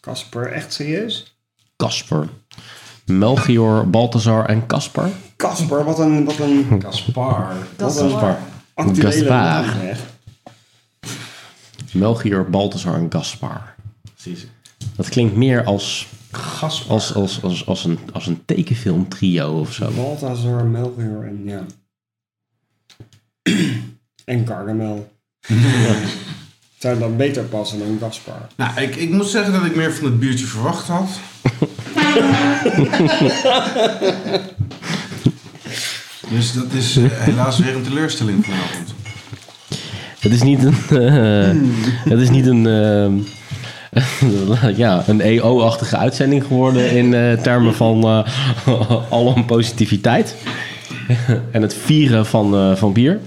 C: Casper, echt serieus?
A: Casper. Melchior, Balthazar en Casper.
C: Casper, wat een, wat een
B: Caspar.
G: Dat is
C: Wat een
G: waar.
C: actuele
A: Hm. Gaspar.
C: naam zeg.
A: Melchior, Balthazar en Gaspar. Dat klinkt meer als,
B: Gaspar.
A: als, als, als, als, een, als een tekenfilm trio of zo.
C: Balthazar, Melchior en ja. en Gargamel. Zou dan beter passen dan Gaspar?
D: Nou, ik, ik moet zeggen dat ik meer van het biertje verwacht had. dus dat is eh, helaas weer een teleurstelling vanavond.
A: Het is niet een... eh, het is niet een... eh, ja, een EO-achtige uitzending geworden in eh, termen van eh alom positiviteit. en het vieren van, eh, van bier.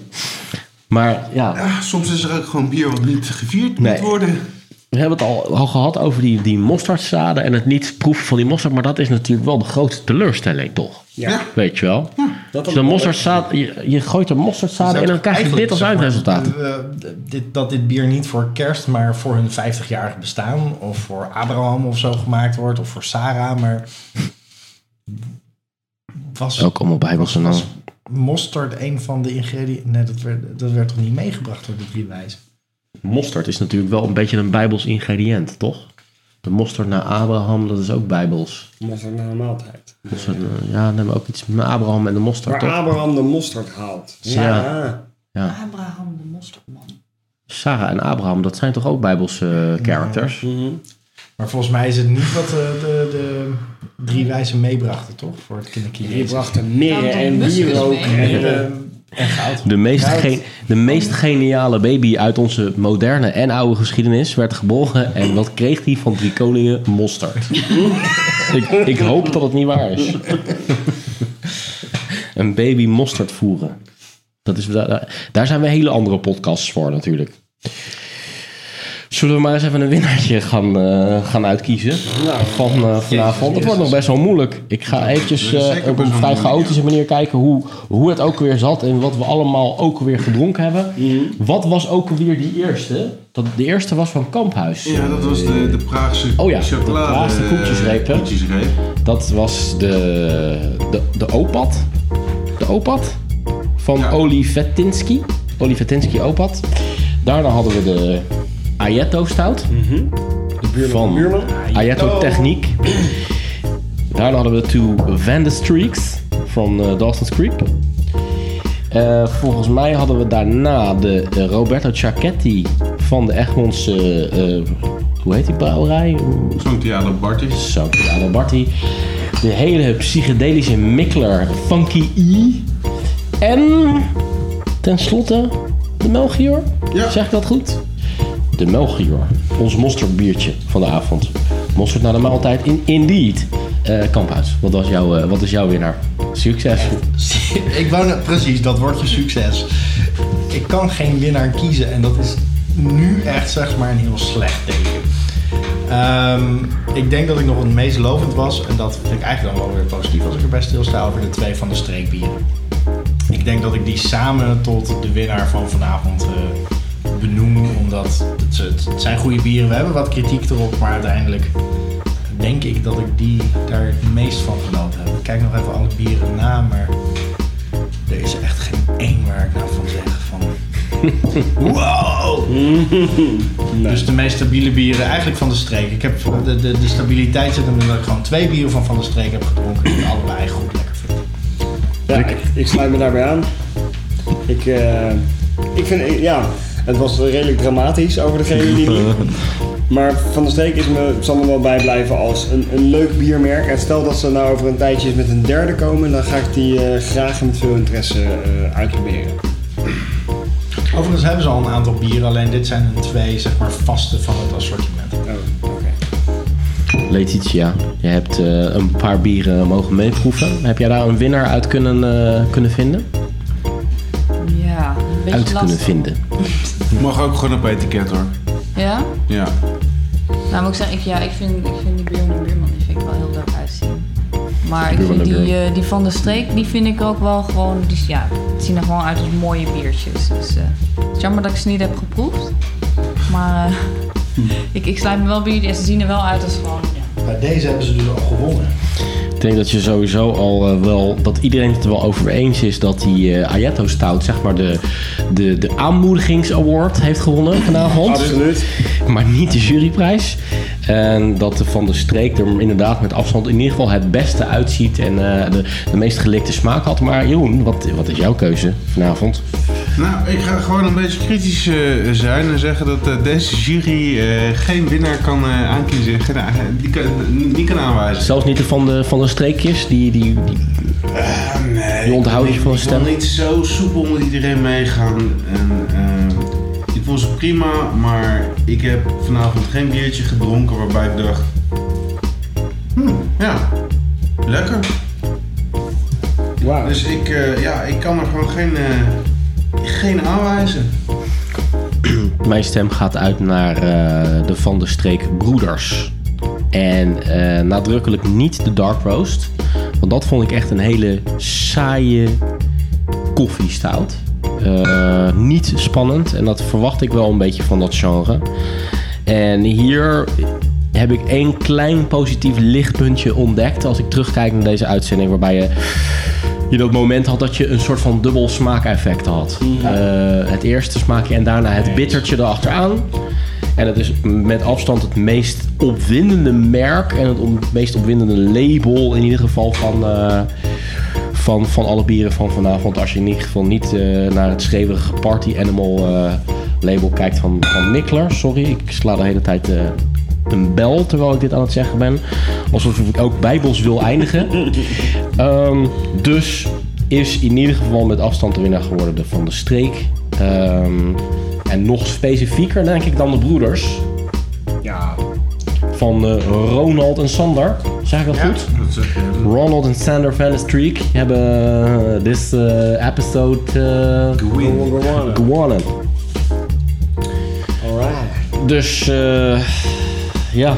A: Maar ja,
D: Ja, soms is er ook gewoon bier wat niet gevierd
A: Nee.
D: moet worden.
A: We hebben het al, al gehad over die, die mosterdzaden en het niet proeven van die mosterd. Maar dat is natuurlijk wel de grootste teleurstelling, toch?
C: Ja.
A: Weet je wel?
C: Dat
A: Als je, een mosterdzaad, je, je gooit een mosterdzaad en Ah, dan krijg je dit als
B: Eigenlijk, zeg maar,
A: eindresultaat.
B: eh, eh, dit, dat dit bier niet voor kerst, maar voor hun 50-jarig bestaan. Of voor Abraham of zo gemaakt wordt. Of voor Sarah. Maar was
A: Ook allemaal bijbelse naam.
B: mosterd een van de ingrediënten? Nee, dat werd, dat werd toch niet meegebracht door de drie wijzen?
A: Mosterd is natuurlijk wel een beetje een bijbels ingrediënt, toch? De mosterd naar Abraham, dat is ook bijbels.
C: Mosterd naar een maaltijd.
A: Mosterd, eh, ja, neem ook iets met Abraham en de mosterd,
C: Waar
A: toch?
C: Abraham de mosterd haalt.
A: Ja.
C: Ja.
G: Abraham de mosterdman.
A: Sarah en Abraham, dat zijn toch ook bijbelse eh, characters?
B: Maar volgens mij is het niet wat de, de, de drie wijzen meebrachten, toch? Voor het kinderkind.
C: Die
B: Jezus.
C: brachten mirre
G: Daar
C: en
G: komt
C: wierook.
G: muskus mee.
C: En, eh,
B: En goud.
A: De meest, ge- de meest geniale baby uit onze moderne en oude geschiedenis werd geboren. En wat kreeg hij van drie koningen? Mosterd. ik, ik hoop dat het niet waar is. een baby mosterd voeren. Dat is, daar, daar zijn we hele andere podcasts voor natuurlijk. Zullen we maar eens even een winnaartje gaan, eh, gaan uitkiezen
D: Nou,
A: van eh, vanavond? Dat wordt nog best wel moeilijk. Ik ga eventjes
D: dat is
A: eh,
D: zeker
A: op
D: best
A: een vrij
D: wel moeilijk,
A: chaotische manier kijken hoe, hoe het ook weer zat en wat we allemaal ook weer gedronken hebben.
D: Mhm.
A: Wat was ook weer die eerste? Dat, de eerste was van Kamphuis.
D: Ja, dat was de, de Praagse
A: Oh ja, de
D: chocolade.
A: Praagse koekjesreep, hè?
D: koekjesreep.
A: Dat was de, de, de Opat. De Opat van
D: Ja.
A: Olivetinski. Olivetinski Opat. Daarna hadden we de Ayetto stout.
D: Mhm.
C: de buurman
A: Van
C: van buurman.
A: Ayetto Techniek. Daarna hadden we de Two Van de Streaks van eh, Dawson's Creek. Eh, volgens mij hadden we daarna de eh, Roberto Ciacchetti van de Egmondse... eh, hoe heet die brouwerij?
D: Santiago Bartis.
A: Santiago Barty. De hele psychedelische mikler Funky E. En tenslotte de Melchior.
D: Ja.
A: Zeg ik dat goed? De Melchior. Ons mosterdbiertje van de avond. Mosterd naar de maaltijd in Indeed. Eh Kamphuis, wat, was jouw, eh, wat is jouw winnaar? Succes.
B: ik wou net, precies, dat wordt je succes. Ik kan geen winnaar kiezen en dat is nu echt zeg maar een heel slecht teken. Ehm, ik denk dat ik nog het meest lovend was en dat vind ik eigenlijk dan wel weer positief als ik erbij stilsta over de twee van de streekbieren. Ik denk dat ik die samen tot de winnaar van vanavond eh, benoem, omdat het, het zijn goede bieren. We hebben wat kritiek erop, maar uiteindelijk denk ik dat ik die daar het meest van genoten heb. Ik kijk nog even alle bieren na, maar er is echt geen één waar ik nou van zeg van
F: Dus de meest stabiele bieren eigenlijk van de streek. Ik heb de, de, de stabiliteit zit hem in dat ik gewoon twee bieren van van de streek heb gedronken. Die ik allebei goed lekker vind.
C: Ja, ik, ik sluit me daarbij aan. Ik, eh, ik vind, ik- ja, het was redelijk dramatisch over degene die liep. Maar Van der Streek is me, zal me wel bijblijven als een, een leuk biermerk. En stel dat ze nou over een tijdje eens met een derde komen, dan ga ik die eh, graag en met veel interesse eh, uitproberen.
F: Overigens hebben ze al een aantal bieren, alleen dit zijn hun twee zeg maar vaste van het assortiment.
C: Oh, oké.
A: Letitia, je hebt eh, een paar bieren mogen meeproeven. Heb jij daar een winnaar uit kunnen, eh, kunnen vinden?
G: Ja, een beetje
A: Uit kunnen
G: lastig.
A: vinden.
D: Mag ook gewoon op etiket hoor.
G: Ja?
D: Ja.
G: Nou moet ik zeggen, ik, ja, ik vind, ik vind die buurman, buurman die vind ik wel heel leuk uitzien. Maar ik
A: Buurman
G: vind
A: en
G: die,
A: buurman.
G: eh, die van de streek, die vind ik ook wel gewoon, die, ja, het zien er gewoon uit als mooie biertjes. Dus eh, het is jammer dat ik ze niet heb geproefd. Maar eh, ik, ik sluit me wel bij jullie en ze zien er wel uit als gewoon, ja.
F: Bij deze hebben ze dus al gewonnen.
A: Ik denk dat je sowieso al eh, wel, dat iedereen het er wel over eens is dat die eh, Ayato Stout, zeg maar, de, de, de aanmoedigingsaward heeft gewonnen vanavond.
C: Absoluut.
A: Maar niet de juryprijs. En dat de Van de Streek er inderdaad met afstand in ieder geval het beste uitziet en eh, de, de meest gelikte smaak had. Maar Jeroen, wat, wat is jouw keuze vanavond?
D: Nou, ik ga gewoon een beetje kritisch eh, zijn en zeggen dat eh, deze jury eh, geen winnaar kan eh, aankiezen. Geen, eh, die kan, niet kan aanwijzen.
A: Zelfs niet de Van de, van de Streekjes, die, die, die
D: nee.
A: Je onthoudt je van
D: Ik wil
A: stemmen?
D: niet zo soepel met iedereen meegaan. En, eh, ik vond ze prima, maar ik heb vanavond geen biertje gedronken waarbij ik dacht... Hmm, ja, lekker.
C: Wauw.
D: Dus ik, eh, ja, ik kan er gewoon geen, eh, geen aanwijzen.
A: Mijn stem gaat uit naar eh, de Van der Streek Broeders. En eh, nadrukkelijk niet de Dark Roast. Want dat vond ik echt een hele saaie koffiestout. Eh, niet spannend. En dat verwacht ik wel een beetje van dat genre. En hier heb ik één klein positief lichtpuntje ontdekt. Als ik terugkijk naar deze uitzending. Waarbij je je dat moment had dat je een soort van dubbel smaakeffect had. Eh, het eerste smaakje en daarna het bittertje erachteraan. En het is met afstand het meest opwindende merk en het on- meest opwindende label in ieder geval van, eh, van, van alle bieren van vanavond. Als je in ieder geval niet eh, naar het schreeuwige Party Animal eh, label kijkt van, van Nickler. Sorry, ik sla de hele tijd eh, een bel terwijl ik dit aan het zeggen ben. Alsof ik ook bijbels wil eindigen. Ehm, dus is in ieder geval met afstand de winnaar geworden de Van de Streek. Ehm, en nog specifieker denk ik dan de broeders
C: Ja.
A: van eh, Ronald en Sander. Zeg ik dat goed? Ronald en Sander van de Streek hebben eh, this eh, episode eh, gewonnen.
C: Alright.
A: Dus eh, ja,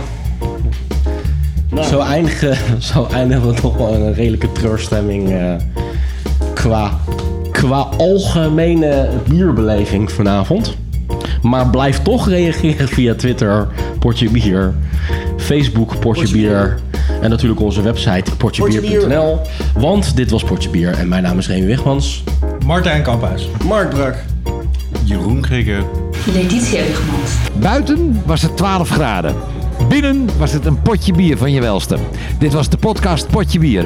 C: Nou,
A: zo eindigen, zo eindigen we toch wel in een redelijke treurstemming eh, qua, qua algemene bierbeleving vanavond. Maar blijf toch reageren via Twitter, Potje Bier, Facebook, Potje Bier en natuurlijk onze website potjebier.nl. Want dit was Potje Bier en mijn naam is Remy Wigmans.
F: Martijn Kamphuis.
C: Mark Brak.
D: Jeroen Krikke.
H: Letitia Wigmans.
I: Buiten was het 12 graden. Binnen was het een potje bier van je welste. Dit was de podcast Potje Bier.